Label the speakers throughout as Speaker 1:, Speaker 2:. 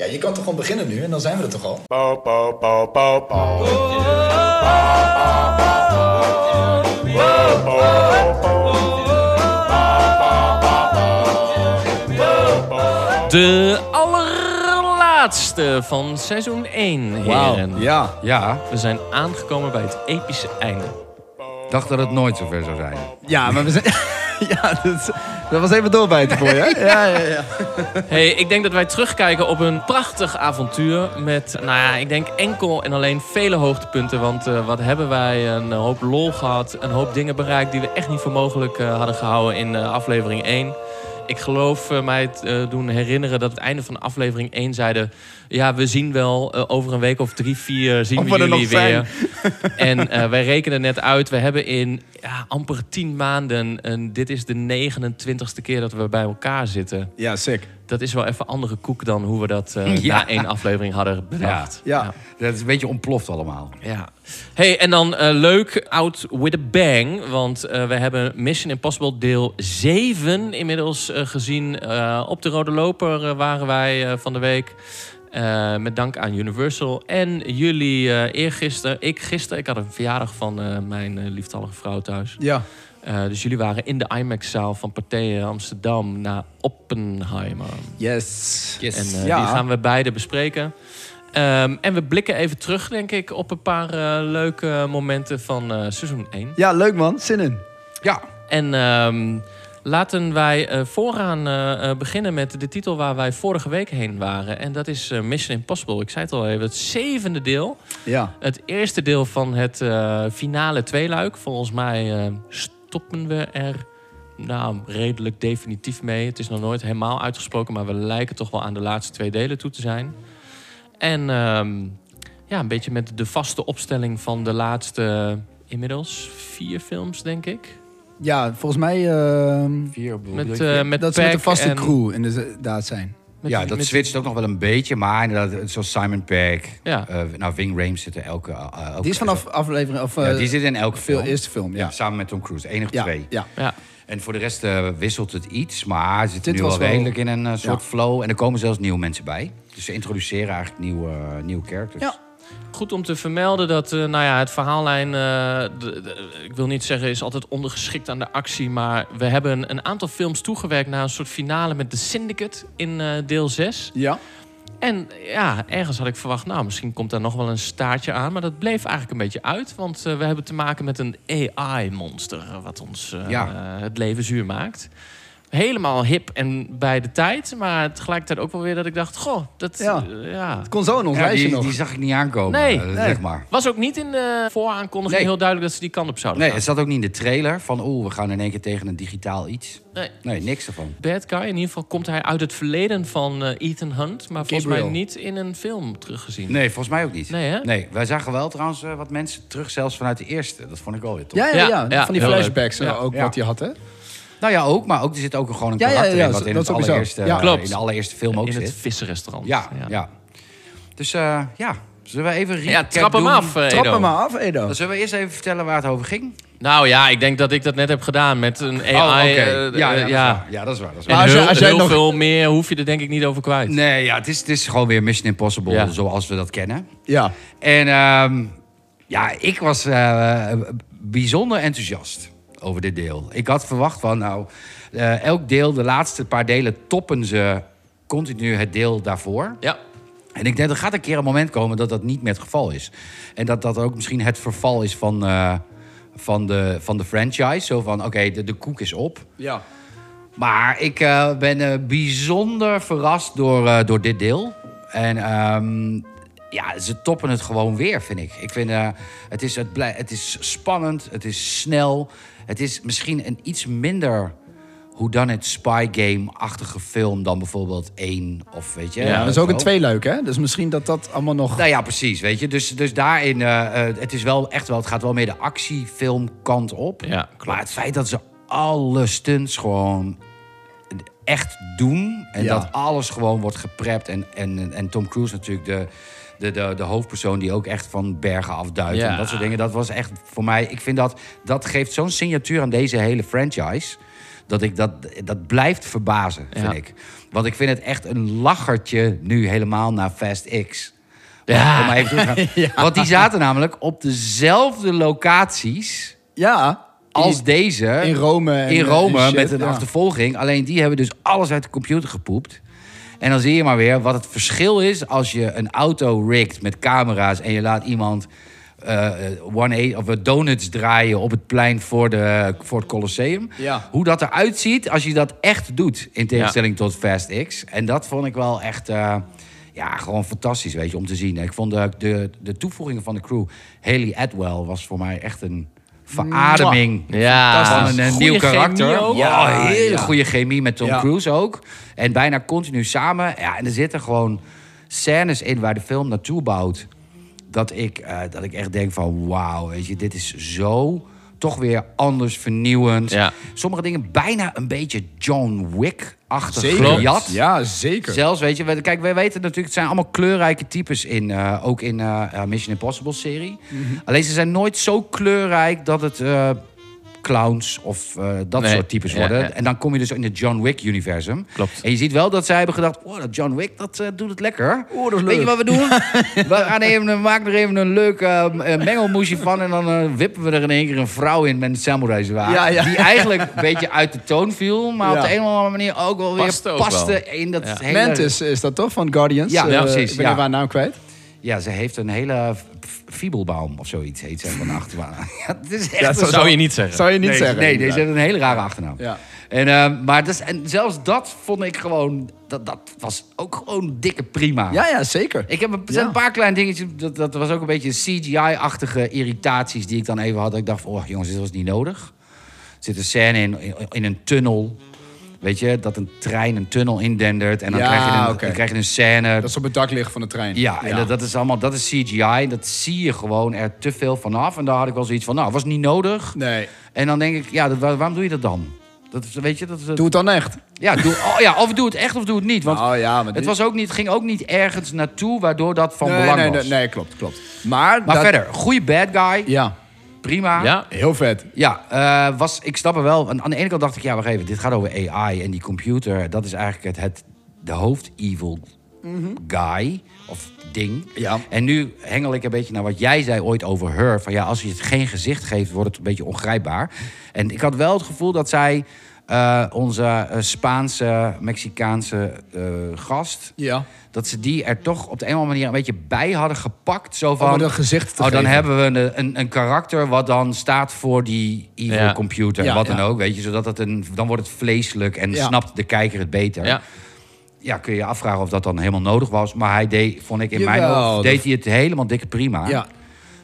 Speaker 1: Ja, je kan toch gewoon beginnen nu en dan zijn we er toch al?
Speaker 2: Bow, bow, bow, bow, bow.
Speaker 3: De allerlaatste van seizoen 1, heren.
Speaker 4: Ja,
Speaker 3: Ja, we zijn aangekomen bij het epische einde.
Speaker 4: ik dacht dat het nooit zover zou zijn.
Speaker 5: Ja, maar we zijn... ja, dat, dat was even doorbijten voor je. hè? Ja, ja, ja.
Speaker 3: hey, ik denk dat wij terugkijken op een prachtig avontuur met, nou ja, ik denk enkel en alleen vele hoogtepunten. Want eh, wat hebben wij een hoop lol gehad, een hoop dingen bereikt die we echt niet voor mogelijk eh, hadden gehouden in eh, aflevering 1. Ik geloof eh, mij het, eh, doen herinneren dat het einde van aflevering 1 zeiden... ja, we zien wel eh, over een week of drie, vier zien
Speaker 5: Of
Speaker 3: we
Speaker 5: we er
Speaker 3: jullie
Speaker 5: nog zijn.
Speaker 3: weer. En eh, wij rekenen net uit, we hebben in ja, amper tien maanden... en dit is de 29ste keer dat we bij elkaar zitten.
Speaker 5: ja, sick.
Speaker 3: Dat is wel even andere koek dan hoe we dat eh,
Speaker 4: Ja.
Speaker 3: na één aflevering hadden bedacht.
Speaker 5: Ja.
Speaker 4: Dat is een beetje ontploft allemaal.
Speaker 3: Ja. Hey, en dan eh, leuk, out with a bang. Want eh, we hebben Mission Impossible deel 7 inmiddels eh, gezien. Eh, op de Rode Loper eh, waren wij eh, van de week. Eh, met dank aan Universal en jullie eh eergisteren. Ik gisteren, ik had een verjaardag van eh, mijn eh, lieftallige vrouw thuis.
Speaker 5: Ja.
Speaker 3: Eh, dus jullie waren in de IMAX-zaal van Partij Amsterdam naar Oppenheimer.
Speaker 5: Yes.
Speaker 3: En eh,
Speaker 5: Ja.
Speaker 3: die gaan we beide bespreken. Ehm, en we blikken even terug, denk ik, op een paar eh, leuke momenten van eh, seizoen 1.
Speaker 5: Ja, leuk man. Zin in.
Speaker 4: Ja,
Speaker 3: En ehm, laten wij eh, vooraan eh, eh, beginnen met de titel waar wij vorige week heen waren. En dat is eh, Mission Impossible. Ik zei het al even, het zevende deel.
Speaker 5: Ja.
Speaker 3: Het eerste deel van het eh, finale tweeluik. Volgens mij eh, stoppen we er nou, redelijk definitief mee. Het is nog nooit helemaal uitgesproken, maar we lijken toch wel aan de laatste twee delen toe te zijn. En ehm, ja, een beetje met de vaste opstelling van de laatste eh, inmiddels vier films, denk ik.
Speaker 5: Ja, volgens mij... ehm,
Speaker 4: vier bedoel
Speaker 3: Met,
Speaker 4: je?
Speaker 3: eh, met
Speaker 5: dat ze met
Speaker 3: Peck
Speaker 5: een vaste
Speaker 3: en-
Speaker 5: crew inderdaad zijn.
Speaker 3: met-
Speaker 4: ja, dat
Speaker 3: met-
Speaker 4: switcht ook nog wel een beetje, maar inderdaad, zoals Simon Peck,
Speaker 3: Ja.
Speaker 4: eh, nou, Wing Rames zitten elke... eh, elke-
Speaker 5: Die is vanaf aflevering... Of,
Speaker 4: Ja,
Speaker 5: eh,
Speaker 4: die zit in elke
Speaker 5: veel
Speaker 4: film.
Speaker 5: eerste film, ja.
Speaker 4: Samen met Tom Cruise, enig
Speaker 5: Ja,
Speaker 4: twee.
Speaker 5: ja.
Speaker 3: Ja,
Speaker 4: En voor de rest eh, wisselt het iets, maar ze zitten
Speaker 5: Dit
Speaker 4: nu
Speaker 5: was
Speaker 4: wel
Speaker 5: wel-
Speaker 4: redelijk in een eh, soort
Speaker 5: Ja.
Speaker 4: flow. En er komen zelfs nieuwe mensen bij. Dus ze introduceren eigenlijk nieuwe, eh, nieuwe characters.
Speaker 5: Ja.
Speaker 3: Goed om te vermelden dat eh, nou ja, het verhaallijn, eh, de- de- ik wil niet zeggen, is altijd ondergeschikt aan de actie. Maar we hebben een aantal films toegewerkt naar een soort finale met The Syndicate in eh, deel 6.
Speaker 5: Ja.
Speaker 3: En ja, ergens had ik verwacht, nou misschien komt daar nog wel een staartje aan. Maar dat bleef eigenlijk een beetje uit. Want eh, we hebben te maken met een AI-monster wat ons eh,
Speaker 4: Ja.
Speaker 3: eh, het leven zuur maakt. Helemaal hip en bij de tijd. Maar tegelijkertijd ook wel weer dat ik dacht, goh, dat...
Speaker 5: Ja.
Speaker 3: eh, ja.
Speaker 5: Kon zo in ons
Speaker 4: Ja,
Speaker 5: lijstje
Speaker 4: die,
Speaker 5: Oh, nog.
Speaker 4: die zag ik niet aankomen,
Speaker 3: Nee,
Speaker 4: eh,
Speaker 5: nee.
Speaker 4: zeg maar.
Speaker 3: Was ook niet in de vooraankondiging
Speaker 4: Nee.
Speaker 3: heel duidelijk dat ze die kant op zouden
Speaker 4: Nee,
Speaker 3: gaan.
Speaker 4: het zat ook niet in de trailer van... oeh, we gaan in één keer tegen een digitaal iets.
Speaker 3: Nee.
Speaker 4: Nee, niks ervan.
Speaker 3: Bad Guy, in ieder geval komt hij uit het verleden van eh, Ethan Hunt. Maar volgens mij
Speaker 5: Gabriel.
Speaker 3: niet in een film teruggezien.
Speaker 4: Nee, volgens mij ook niet.
Speaker 3: Nee, hè?
Speaker 4: Nee, wij zagen wel trouwens eh, wat mensen terug, zelfs vanuit de eerste. Dat vond ik wel weer tof.
Speaker 5: Ja, ja,
Speaker 3: Ja,
Speaker 5: ja,
Speaker 3: ja,
Speaker 5: Van die
Speaker 3: heel leuk.
Speaker 5: flashbacks eh,
Speaker 3: Ja.
Speaker 5: ook
Speaker 4: Ja.
Speaker 5: wat je had, hè?
Speaker 4: Nou ja, ook, maar ook er zit ook gewoon een
Speaker 5: Ja, ja,
Speaker 4: karakter
Speaker 5: ja,
Speaker 4: in... wat in,
Speaker 5: dat is
Speaker 4: het
Speaker 5: sowieso.
Speaker 4: allereerste,
Speaker 5: Ja.
Speaker 4: eh,
Speaker 3: Klopt.
Speaker 4: in de allereerste film ook
Speaker 3: in
Speaker 4: zit.
Speaker 3: het vissenrestaurant.
Speaker 4: Ja, ja, Dus eh, ja, zullen we even recap
Speaker 3: Ja, trap hem
Speaker 4: doen?
Speaker 3: af, eh,
Speaker 5: Trap
Speaker 3: Edo.
Speaker 5: me maar af, Edo.
Speaker 4: Dan zullen we eerst even vertellen waar het over ging.
Speaker 3: Nou ja, ik denk dat ik dat net heb gedaan met een AI.
Speaker 4: Oh, oké.
Speaker 3: eh,
Speaker 4: ja,
Speaker 3: eh,
Speaker 4: ja,
Speaker 3: ja.
Speaker 4: Dat is waar. ja, dat is waar. Dat is
Speaker 3: En
Speaker 4: waar.
Speaker 5: Maar als
Speaker 3: heel,
Speaker 5: jij- als jij
Speaker 3: heel
Speaker 5: nog-
Speaker 3: veel meer hoef je er denk ik niet over kwijt.
Speaker 4: Nee, ja, het, is, het is gewoon weer Mission Impossible
Speaker 3: Ja.
Speaker 4: zoals we dat kennen.
Speaker 5: Ja.
Speaker 4: En ehm, ja, ik was eh, bijzonder enthousiast over dit deel. Ik had verwacht van, nou, eh, elk deel, de laatste paar delen toppen ze continu het deel daarvoor.
Speaker 3: Ja,
Speaker 4: En ik denk, er gaat een keer een moment komen dat dat niet meer het geval is. En dat dat ook misschien het verval is van, eh, van, de, van de franchise. Zo van, oké, de, de koek is op.
Speaker 5: Ja.
Speaker 4: Maar ik eh, ben eh, bijzonder verrast door, eh, door dit deel. En ehm, ja, ze toppen het gewoon weer, vind ik. Ik vind, eh, het, is, het, blij- het is spannend, het is snel. Het is misschien een iets minder hoe dan het spy game-achtige film dan bijvoorbeeld één of weet je.
Speaker 3: Ja,
Speaker 5: dat is ook
Speaker 4: zo.
Speaker 5: een tweeluik, hè? Dus misschien dat dat allemaal nog...
Speaker 4: Nou ja, precies, weet je. Dus, dus daarin, eh, eh, het is wel echt wel, het gaat wel meer de actiefilmkant op.
Speaker 3: Ja, klopt.
Speaker 4: Maar het feit dat ze alle stunts gewoon echt doen en
Speaker 5: Ja.
Speaker 4: dat alles gewoon wordt geprept en, en, en Tom Cruise natuurlijk de, de, de, de hoofdpersoon die ook echt van bergen afduikt
Speaker 3: Ja.
Speaker 4: en dat soort dingen. Dat was echt voor mij, ik vind dat, dat geeft zo'n signatuur aan deze hele franchise. dat ik dat, dat blijft verbazen, vind
Speaker 3: Ja.
Speaker 4: ik. Want ik vind het echt een lachertje nu helemaal naar Fast X.
Speaker 3: Ja.
Speaker 4: Om maar even terug te gaan. Want die zaten namelijk op dezelfde locaties
Speaker 5: Ja.
Speaker 4: als deze.
Speaker 5: in Rome en-
Speaker 4: in Rome
Speaker 5: en shit,
Speaker 4: met een
Speaker 5: ja.
Speaker 4: achtervolging. Alleen die hebben dus alles uit de computer gepoept. En dan zie je maar weer wat het verschil is als je een auto rigt met camera's en je laat iemand eh, eh, one eight, of eh, donuts draaien op het plein voor, de, voor het Colosseum.
Speaker 5: Ja.
Speaker 4: Hoe dat eruit ziet als je dat echt doet in tegenstelling tot Fast X. En dat vond ik wel echt eh, ja, gewoon fantastisch weet je, om te zien. Ik vond de, de, de toevoegingen van de crew, Haley Atwell, was voor mij echt een verademing
Speaker 3: Ja.
Speaker 4: van een, een
Speaker 3: Goeie
Speaker 4: nieuw
Speaker 3: chemie
Speaker 4: karakter.
Speaker 3: ook. Oh,
Speaker 4: Ja, hele goede chemie met Tom
Speaker 5: Ja.
Speaker 4: Cruise ook. En bijna continu samen. Ja, en er zitten gewoon scènes in waar de film naartoe bouwt. Dat ik, eh, dat ik echt denk van wauw, weet je, dit is zo toch weer anders vernieuwend.
Speaker 3: Ja.
Speaker 4: Sommige dingen bijna een beetje John Wick-achtig
Speaker 5: Zeker.
Speaker 4: gejat.
Speaker 5: Ja, zeker.
Speaker 4: Zelfs, weet je, we- kijk, wij weten natuurlijk, het zijn allemaal kleurrijke types in, eh, ook in eh, eh, Mission Impossible serie.
Speaker 5: Mhm.
Speaker 4: Alleen ze zijn nooit zo kleurrijk dat het eh, clowns of eh, dat
Speaker 3: Nee,
Speaker 4: soort types
Speaker 3: ja,
Speaker 4: worden.
Speaker 3: ja.
Speaker 4: En dan kom je dus in het John Wick universum.
Speaker 3: Klopt.
Speaker 4: En je ziet wel dat zij hebben gedacht, oh, dat John Wick, dat eh, doet het lekker.
Speaker 5: Oeh, dat is
Speaker 4: Weet je
Speaker 5: leuk.
Speaker 4: wat we doen? we gaan even, een- maken er even een leuk eh, m- eh, mengelmoesje van en dan eh, wippen we er in één keer een vrouw in met een samurai zwaard.
Speaker 5: Ja, ja.
Speaker 4: Die eigenlijk een beetje uit de toon viel, maar op
Speaker 5: Ja.
Speaker 4: de een of andere manier ook wel weer
Speaker 3: Paste ook
Speaker 4: paste
Speaker 3: wel.
Speaker 4: in dat
Speaker 3: Ja.
Speaker 4: hele...
Speaker 5: Mantis is dat toch, van Guardians?
Speaker 4: Ja,
Speaker 5: Eh,
Speaker 4: ja, precies,
Speaker 5: Ik ben
Speaker 4: ja.
Speaker 5: haar naam kwijt.
Speaker 4: Ja, ze heeft een hele f- f- fiebelbaum of zoiets heet ze van de achternaam. Ja, het is echt
Speaker 5: Ja,
Speaker 4: een-
Speaker 5: zo-
Speaker 3: zou je niet zeggen.
Speaker 5: Zou je niet
Speaker 4: nee,
Speaker 5: zeggen.
Speaker 4: Nee, deze
Speaker 5: inderdaad.
Speaker 4: heeft een hele rare achternaam.
Speaker 5: Ja.
Speaker 4: En, eh, maar dat is, en zelfs dat vond ik gewoon... Dat, dat was ook gewoon dikke prima.
Speaker 5: Ja, ja, zeker.
Speaker 4: Ik heb een, er zijn een paar kleine dingetjes. Dat, dat was ook een beetje CGI-achtige irritaties die ik dan even had. Dat ik dacht, van, oh jongens, dit was niet nodig. Er zit een scène in, in, in een tunnel. Weet je, dat een trein een tunnel indendert. En dan,
Speaker 5: Ja,
Speaker 4: krijg, je een,
Speaker 5: oké.
Speaker 4: dan krijg je een scène.
Speaker 5: Dat ze op het dak liggen van de trein.
Speaker 4: Ja, en Dat, dat is allemaal dat is CGI. Dat zie je gewoon er te veel vanaf. En daar had ik wel zoiets van, nou, was niet nodig.
Speaker 5: Nee.
Speaker 4: En dan denk ik, ja, dat, waar- waarom doe je dat dan? Dat, is- weet je, dat, is-
Speaker 5: Doe het dan echt.
Speaker 4: Ja, doe, oh, ja, of doe het echt of doe het niet. Want
Speaker 5: oh ja, maar
Speaker 4: het
Speaker 5: dit-
Speaker 4: was ook niet, ging ook niet ergens naartoe waardoor dat van
Speaker 5: nee,
Speaker 4: belang
Speaker 5: nee,
Speaker 4: was.
Speaker 5: nee, nee, klopt, klopt. Maar,
Speaker 4: Maar
Speaker 5: dat-
Speaker 4: verder, goede bad guy.
Speaker 5: Ja,
Speaker 4: Prima.
Speaker 3: Ja.
Speaker 5: heel vet.
Speaker 4: Ja, eh, was, ik snap er wel. Aan aan de ene kant dacht ik, ja, wacht even, dit gaat over AI en die computer. Dat is eigenlijk het, het, de hoofd-evil guy of ding.
Speaker 5: Ja.
Speaker 4: En nu hengel ik een beetje naar wat jij zei ooit over her. Van ja, als je het geen gezicht geeft, wordt het een beetje ongrijpbaar. En ik had wel het gevoel dat zij eh, onze eh, Spaanse, Mexicaanse eh, gast.
Speaker 5: Ja.
Speaker 4: Dat ze die er toch op de een of andere manier een beetje bij hadden gepakt. Zo van,
Speaker 5: maar een gezicht te
Speaker 4: oh, dan
Speaker 5: geven.
Speaker 4: hebben we een, een, een karakter wat dan staat voor die evil
Speaker 3: Ja.
Speaker 4: computer.
Speaker 5: Ja,
Speaker 4: wat dan
Speaker 5: ja.
Speaker 4: ook, weet je. Zodat het een, dan wordt het vleeselijk en
Speaker 5: Ja.
Speaker 4: snapt de kijker het beter.
Speaker 3: Ja.
Speaker 4: Ja, kun je je afvragen of dat dan helemaal nodig was. Maar hij deed, vond ik in mijn
Speaker 5: Jawel,
Speaker 4: ogen,
Speaker 5: dat-
Speaker 4: deed hij het helemaal dikke prima.
Speaker 5: Ja.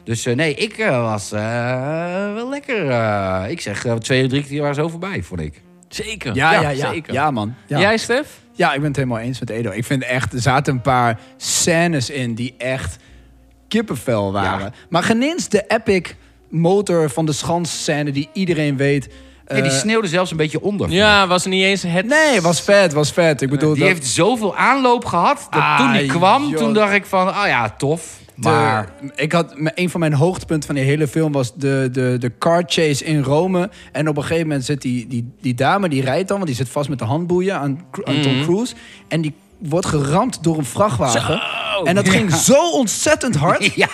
Speaker 4: Dus eh, nee, ik eh, was eh, wel lekker. eh, ik zeg, eh, twee of drie keer waren zo voorbij, vond ik.
Speaker 3: Zeker.
Speaker 5: Ja, ja, ja.
Speaker 3: zeker.
Speaker 5: Ja, man. Ja.
Speaker 3: Jij, Stef?
Speaker 5: Ja, ik ben het helemaal eens met Edo. Ik vind echt, er zaten een paar scènes in die echt kippenvel waren.
Speaker 4: Ja.
Speaker 5: Maar genins de epic motor van de schans scène die iedereen weet.
Speaker 4: Nee, die
Speaker 5: eh,
Speaker 4: sneeuwde zelfs een beetje onder.
Speaker 3: Ja, was niet eens het...
Speaker 5: nee, was vet, was vet. Ik bedoel,
Speaker 4: Die
Speaker 5: dat-
Speaker 4: heeft zoveel aanloop gehad. Dat
Speaker 5: Ah,
Speaker 4: toen die kwam,
Speaker 5: joh.
Speaker 4: toen dacht ik van, ah ja, tof. Maar
Speaker 5: De- ik had, m- een van mijn hoogtepunten van die hele film was de, de, de car chase in Rome. En op een gegeven moment zit die, die, die dame, die rijdt dan, want die zit vast met de handboeien aan, Cru- aan Tom Cruise. En die wordt geramd door een vrachtwagen. En dat ging zo ontzettend hard.
Speaker 4: ja,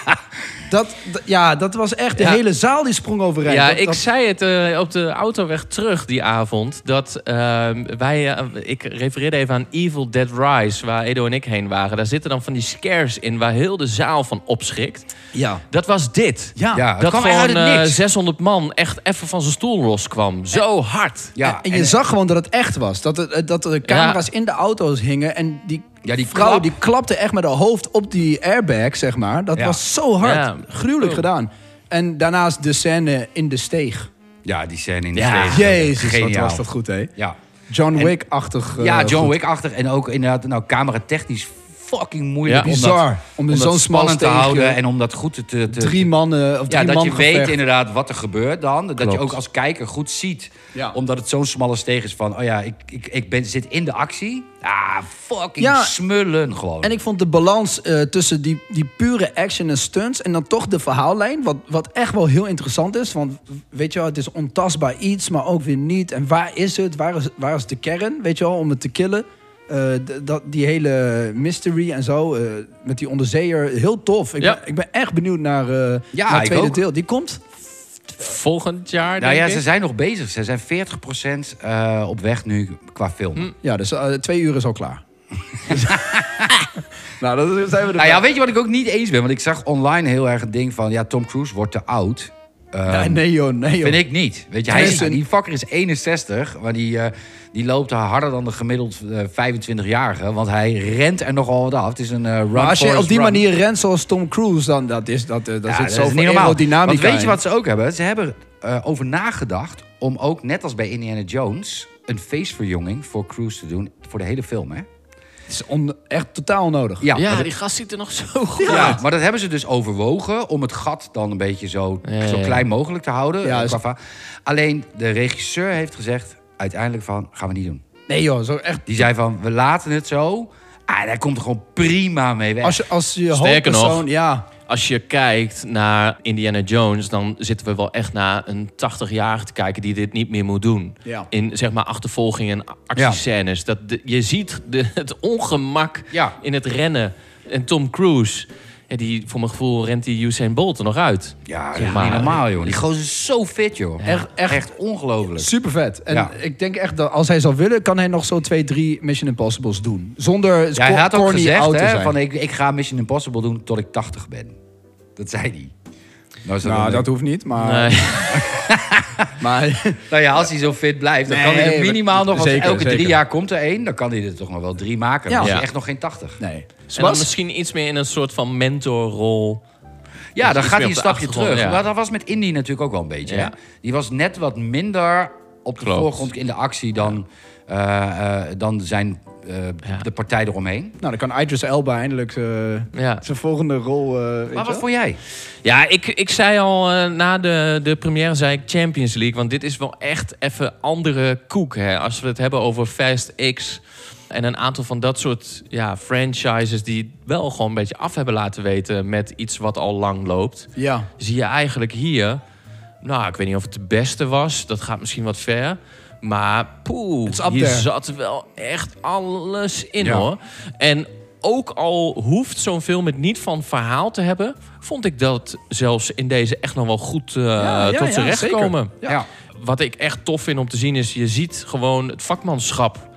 Speaker 5: Dat, dat- ja, dat was echt, de
Speaker 3: Ja.
Speaker 5: hele zaal die sprong overeind.
Speaker 3: Ja,
Speaker 5: Dat-
Speaker 3: ik
Speaker 5: dat-
Speaker 3: zei het eh, op de autoweg terug die avond. Dat ehm, wij, eh, ik refereerde even aan Evil Dead Rise, waar Edo en ik heen waren. Daar zitten dan van die scares in waar heel de zaal van opschrikt.
Speaker 5: ja.
Speaker 3: Dat was dit.
Speaker 5: Ja.
Speaker 4: ja, het
Speaker 3: dat
Speaker 4: kwam
Speaker 3: gewoon
Speaker 4: uit het
Speaker 3: eh,
Speaker 4: niks.
Speaker 3: 600 man echt even van zijn stoel loskwam. Zo hard.
Speaker 4: ja, eh,
Speaker 5: en je zag gewoon dat het echt was. Dat, het- eh, dat de camera's in de auto's hingen. En die,
Speaker 4: Ja, die
Speaker 5: vrouw
Speaker 4: klap.
Speaker 5: die klapte echt met haar hoofd op die airbag, zeg maar. Dat
Speaker 4: Ja. Oh.
Speaker 5: was zo hard.
Speaker 3: Ja.
Speaker 5: Gruwelijk
Speaker 3: Cool.
Speaker 5: gedaan. En daarnaast de scène in de steeg.
Speaker 4: ja, die scène in de
Speaker 3: Ja.
Speaker 4: steeg.
Speaker 5: Jezus, wat
Speaker 4: Geniaal.
Speaker 5: was dat goed, hè?
Speaker 4: Ja,
Speaker 5: John Wick-achtig. eh,
Speaker 4: ja John
Speaker 5: goed.
Speaker 4: Wick-achtig. En ook inderdaad, nou, cameratechnisch fucking moeilijk
Speaker 3: Ja.
Speaker 4: om, dat,
Speaker 5: Bizar. Om
Speaker 4: om
Speaker 5: het
Speaker 4: dat
Speaker 5: zo'n
Speaker 4: spannend te
Speaker 5: smalsteentje-
Speaker 4: houden en om dat goed te... te, te-
Speaker 5: Drie mannen of drie
Speaker 4: ja, dat
Speaker 5: man
Speaker 4: je weet
Speaker 5: gevecht.
Speaker 4: inderdaad wat er gebeurt dan. Dat je
Speaker 3: Klopt.
Speaker 4: ook als kijker goed ziet.
Speaker 5: Ja.
Speaker 4: Omdat het zo'n smalle steeg is van... Oh ja, ik, ik, ik ben, zit in de actie. Ah, fucking
Speaker 5: Ja.
Speaker 4: smullen gewoon.
Speaker 5: En ik vond de balans eh, tussen die, die pure action en stunts en dan toch de verhaallijn, wat, wat echt wel heel interessant is. Want weet je wel, het is ontastbaar iets, maar ook weer niet. En waar is het? Waar is, waar is de kern, weet je wel, om het te killen? Eh, d- dat, die hele mystery en zo, eh, met die onderzeeër, heel tof. Ik,
Speaker 3: Ja.
Speaker 5: ben, ik ben echt benieuwd naar, eh
Speaker 4: Ja,
Speaker 5: naar het
Speaker 4: ik
Speaker 5: tweede
Speaker 4: ook.
Speaker 5: deel. Die komt.
Speaker 3: Volgend jaar,
Speaker 4: nou ja,
Speaker 3: denk
Speaker 4: ze
Speaker 3: ik.
Speaker 4: zijn nog bezig. Ze zijn 40% eh, op weg nu qua film.
Speaker 3: Hm,
Speaker 5: Ja, dus eh, twee uur is al klaar. nou, dat zijn we er.
Speaker 4: Nou ja, weet je wat ik ook niet eens ben? Want ik zag online heel erg het ding van... Ja, Tom Cruise wordt te oud. Ehm,
Speaker 5: nee, nee, joh, nee, joh.
Speaker 4: Vind ik niet. Weet je, hij is,
Speaker 5: Tenminste-
Speaker 4: die fucker is 61, maar die, eh, die loopt harder dan de gemiddeld eh, 25-jarige. Want hij rent er nogal wat af. Het is een eh run
Speaker 5: Maar als je
Speaker 4: Forrest,
Speaker 5: op die
Speaker 4: run.
Speaker 5: manier rent zoals Tom Cruise, dan dat is dat, eh, daar
Speaker 4: Ja,
Speaker 5: zit
Speaker 4: dat
Speaker 5: zoveel
Speaker 4: is niet normaal.
Speaker 5: aerodynamica
Speaker 4: Want weet je
Speaker 5: in.
Speaker 4: wat ze ook hebben? Ze hebben eh over nagedacht om ook, net als bij Indiana Jones... een feestverjonging voor Cruise te doen voor de hele film, hè?
Speaker 5: Het is on- echt totaal nodig.
Speaker 4: Ja,
Speaker 3: Ja,
Speaker 4: dat-
Speaker 3: die gast ziet er nog zo goed
Speaker 4: ja,
Speaker 3: uit.
Speaker 4: maar dat hebben ze dus overwogen om het gat dan een beetje zo,
Speaker 3: Ja, ja,
Speaker 4: zo
Speaker 3: ja.
Speaker 4: klein mogelijk te houden.
Speaker 5: Ja,
Speaker 4: eh,
Speaker 5: is-
Speaker 4: qua va- Alleen de regisseur heeft gezegd uiteindelijk van, gaan we niet doen.
Speaker 5: Nee joh, zo echt.
Speaker 4: Die zei van, we laten het zo. Ah, daar komt er gewoon prima mee weg.
Speaker 5: Als je, als je
Speaker 3: Sterker nog.
Speaker 5: hoofdpersoon... Ja,
Speaker 3: Als je kijkt naar Indiana Jones, dan zitten we wel echt naar een 80-jarige te kijken die dit niet meer moet doen.
Speaker 5: Ja.
Speaker 3: In zeg maar achtervolgingen en actiescènes. Dat de- je ziet de- het ongemak
Speaker 4: Ja.
Speaker 3: in het rennen. En Tom Cruise, ja, die, voor mijn gevoel rent die Usain Bolt er nog uit.
Speaker 4: Ja, dat
Speaker 3: Zeg
Speaker 4: is
Speaker 3: maar.
Speaker 4: niet normaal, joh. Die gozer is zo fit, joh.
Speaker 5: Echt- echt-
Speaker 4: ongelooflijk.
Speaker 5: super vet. En
Speaker 4: Ja.
Speaker 5: ik denk echt dat als hij zou willen, kan hij nog zo twee, drie Mission Impossibles doen. Zonder
Speaker 4: Ja, hij
Speaker 5: cor-
Speaker 4: had ook
Speaker 5: corny oud
Speaker 4: gezegd,
Speaker 5: te
Speaker 4: hè,
Speaker 5: zijn.
Speaker 4: van ik, ik ga Mission Impossible doen tot ik 80 ben. Dat zei hij. Nou, is dat wel
Speaker 5: nou, dat
Speaker 4: leuk.
Speaker 5: hoeft niet, maar...
Speaker 3: Nee.
Speaker 5: maar
Speaker 4: nou ja, als hij zo fit blijft, dan
Speaker 5: Nee,
Speaker 4: kan hij er
Speaker 5: maar-
Speaker 4: minimaal nog... Als
Speaker 5: zeker,
Speaker 4: elke drie
Speaker 5: zeker.
Speaker 4: jaar komt er één, dan kan hij er toch nog wel drie maken. Dan
Speaker 5: Ja.
Speaker 4: is hij
Speaker 3: Ja.
Speaker 4: echt nog geen 80.
Speaker 5: nee.
Speaker 3: En dan
Speaker 5: Sebas?
Speaker 3: misschien iets meer in een soort van mentorrol.
Speaker 4: Ja, dan
Speaker 3: iets meer
Speaker 4: gaat hij een
Speaker 3: op de
Speaker 4: stapje
Speaker 3: achtergrond,
Speaker 4: terug.
Speaker 3: ja.
Speaker 4: Maar dat was met Indy natuurlijk ook wel een beetje.
Speaker 3: Ja.
Speaker 4: hè? Die was net wat minder op de
Speaker 3: Klopt.
Speaker 4: voorgrond in de actie dan, eh, eh, dan zijn, eh,
Speaker 3: Ja.
Speaker 4: de partij eromheen.
Speaker 5: Nou, dan kan Idris Elba eindelijk eh,
Speaker 3: Ja.
Speaker 5: zijn volgende rol... eh, weet
Speaker 4: Maar
Speaker 5: je
Speaker 4: wat
Speaker 5: wel?
Speaker 4: vond jij?
Speaker 3: Ja, ik, ik zei al eh, na de, de première zei ik Champions League. Want dit is wel echt even andere koek. Hè? Als we het hebben over Fast X en een aantal van dat soort ja, franchises... die het wel gewoon een beetje af hebben laten weten met iets wat al lang loopt.
Speaker 5: Ja.
Speaker 3: Zie je eigenlijk hier... Nou, ik weet niet of het de beste was. Dat gaat misschien wat ver. Maar poeh,
Speaker 5: is up
Speaker 3: hier
Speaker 5: there.
Speaker 3: zat wel echt alles in
Speaker 4: Ja.
Speaker 3: hoor. En ook al hoeft zo'n film het niet van verhaal te hebben, vond ik dat zelfs in deze echt nog wel goed eh,
Speaker 5: ja,
Speaker 3: tot
Speaker 5: ja,
Speaker 3: z'n recht
Speaker 5: zeker.
Speaker 3: komen.
Speaker 4: Ja.
Speaker 3: Wat ik echt tof vind om te zien is, je ziet gewoon het vakmanschap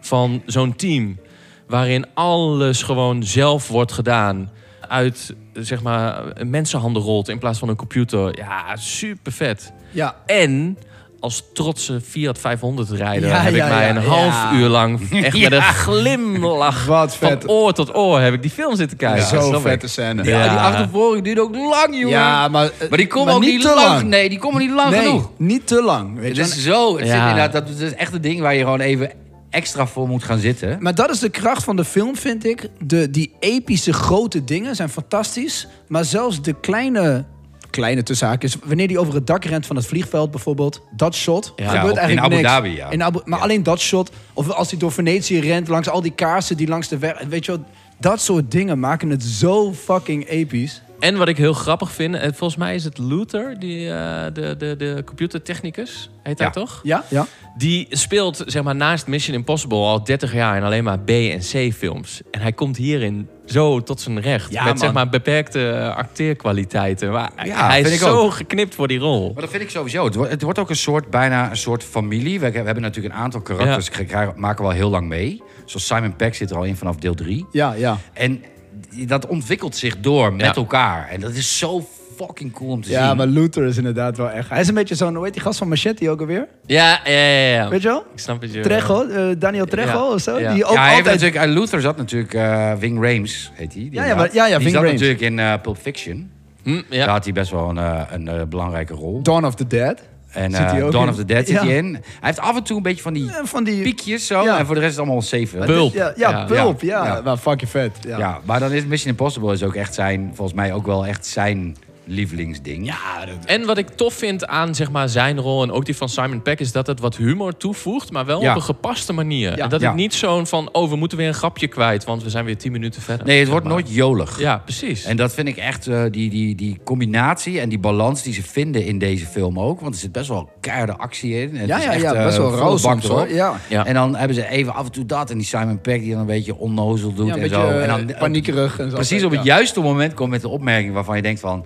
Speaker 3: van zo'n team. Waarin alles gewoon zelf wordt gedaan. Uit, zeg maar, een mensenhanden rolt in plaats van een computer. Ja, super vet.
Speaker 5: Ja.
Speaker 3: En als trotse Fiat 500 rijder
Speaker 5: Ja,
Speaker 3: heb ik
Speaker 5: ja,
Speaker 3: mij
Speaker 5: ja,
Speaker 3: een
Speaker 5: ja.
Speaker 3: half uur lang echt met een glimlach
Speaker 5: Wat vet.
Speaker 3: van oor tot oor heb ik die film zitten kijken. Dat
Speaker 5: zo
Speaker 3: snap ik.
Speaker 5: vette scène.
Speaker 4: Ja, Ah, die achtervolging duurde ook lang, jongen.
Speaker 5: Ja, maar... eh,
Speaker 4: maar die komen ook niet,
Speaker 5: te
Speaker 4: lang. Nee, die komen niet lang
Speaker 5: nee,
Speaker 4: genoeg.
Speaker 5: niet te lang.
Speaker 4: Het
Speaker 5: Weet je wel.
Speaker 4: is zo. Het
Speaker 3: Ja.
Speaker 4: zit inderdaad, dat, dat is echt een ding waar je gewoon even extra voor moet gaan zitten.
Speaker 5: Maar dat is de kracht van de film, vind ik. De, die epische grote dingen zijn fantastisch. Maar zelfs de kleine, kleine tussenhaakjes... wanneer die over het dak rent van het vliegveld bijvoorbeeld... dat shot,
Speaker 3: Ja,
Speaker 5: gebeurt
Speaker 4: op-
Speaker 5: eigenlijk
Speaker 4: in Abu
Speaker 5: niks.
Speaker 4: Dhabi, ja.
Speaker 5: In Abu- maar alleen dat shot. Of als hij door Venetië rent, langs al die kaarsen die langs de weg... Weet je wel, dat soort dingen maken het zo fucking episch.
Speaker 3: En wat ik heel grappig vind, eh, volgens mij is het Luther, die, eh, de, de, de computertechnicus, heet hij
Speaker 4: Ja.
Speaker 3: toch?
Speaker 5: Ja? Ja.
Speaker 3: Die speelt zeg maar, naast Mission Impossible al 30 jaar in alleen maar B- en C-films. En hij komt hierin zo tot zijn recht.
Speaker 5: Ja,
Speaker 3: met
Speaker 5: man.
Speaker 3: zeg maar, beperkte eh, acteerkwaliteiten. Maar
Speaker 4: Ja,
Speaker 3: hij
Speaker 4: vind
Speaker 3: is
Speaker 4: ik
Speaker 3: zo
Speaker 4: ook.
Speaker 3: geknipt voor die rol.
Speaker 4: Maar dat vind ik sowieso. Het wordt, het wordt ook een soort, bijna een soort familie. We, we hebben natuurlijk een aantal karakters, die krijgen- maken we al heel lang mee. Zoals Simon Peck zit er al in vanaf deel 3.
Speaker 5: Ja, ja.
Speaker 4: En die- dat ontwikkelt zich door met
Speaker 3: Ja.
Speaker 4: elkaar. En dat is zo fucking cool om te
Speaker 5: Ja,
Speaker 4: zien.
Speaker 5: maar Luther is inderdaad wel echt... Hij is een beetje zo'n... Hoe heet die gast van Machete ook alweer?
Speaker 3: Ja, ja, ja. ja.
Speaker 5: Weet je wel?
Speaker 3: Ik snap het je.
Speaker 5: Trejo, eh, Daniel Trejo
Speaker 3: Ja,
Speaker 5: of zo.
Speaker 3: ja.
Speaker 5: Die ook
Speaker 4: ja, hij heeft
Speaker 5: altijd...
Speaker 4: natuurlijk, eh, Luther zat natuurlijk eh, Ving Rames, heet hij.
Speaker 5: Ja, ja, maar- ja, ja,
Speaker 4: die
Speaker 5: Ving
Speaker 4: zat
Speaker 5: Rhames.
Speaker 4: natuurlijk in eh, Pulp Fiction.
Speaker 3: Hm,
Speaker 4: Daar
Speaker 3: ja.
Speaker 4: had hij best wel een, eh, een eh, belangrijke rol.
Speaker 5: Dawn of the Dead.
Speaker 4: En
Speaker 5: Zit hij
Speaker 4: eh,
Speaker 5: ook
Speaker 4: Dawn
Speaker 5: in?
Speaker 4: of the Dead zit
Speaker 5: Ja.
Speaker 4: hij in. Hij heeft af en toe een beetje van die
Speaker 5: Eh, Van die...
Speaker 4: piekjes zo.
Speaker 5: Ja.
Speaker 4: En voor de rest is het allemaal zeven.
Speaker 3: Pulp.
Speaker 5: Ja, ja,
Speaker 3: Ja,
Speaker 5: Pulp,
Speaker 4: ja,
Speaker 5: ja.
Speaker 4: ja.
Speaker 5: Nou, fucking vet. Ja.
Speaker 4: Ja, maar dan is Mission Impossible is ook echt zijn, volgens mij ook wel echt zijn lievelingsding.
Speaker 5: Ja, dat-
Speaker 3: En wat ik tof vind aan zeg maar, zijn rol en ook die van Simon Peck... is dat het wat humor toevoegt, maar wel
Speaker 4: Ja.
Speaker 3: op een gepaste manier.
Speaker 5: Ja.
Speaker 3: En dat
Speaker 4: Ja.
Speaker 3: het niet zo'n van... oh, we moeten weer een grapje kwijt, want we zijn weer tien minuten verder.
Speaker 4: Nee, het
Speaker 3: zeg
Speaker 4: wordt
Speaker 3: maar.
Speaker 4: nooit jolig.
Speaker 3: Ja, precies.
Speaker 4: En dat vind ik echt, eh, die, die, die combinatie en die balans die ze vinden in deze film ook. Want er zit best wel keiharde actie in. En
Speaker 5: Ja,
Speaker 4: het is
Speaker 5: ja,
Speaker 4: echt,
Speaker 5: ja,
Speaker 4: eh,
Speaker 5: best wel
Speaker 4: volle
Speaker 5: rauw
Speaker 4: bak
Speaker 5: soms,
Speaker 4: erop.
Speaker 5: hoor. Ja.
Speaker 3: Ja.
Speaker 4: En dan hebben ze even af en toe dat. En die Simon Peck die dan een beetje onnozel doet
Speaker 5: Ja, een
Speaker 4: en
Speaker 5: beetje
Speaker 4: zo.
Speaker 5: eh,
Speaker 4: en dan, eh,
Speaker 5: paniekerig. En zo.
Speaker 4: Precies op het
Speaker 5: Ja.
Speaker 4: juiste moment komt met een opmerking waarvan je denkt van...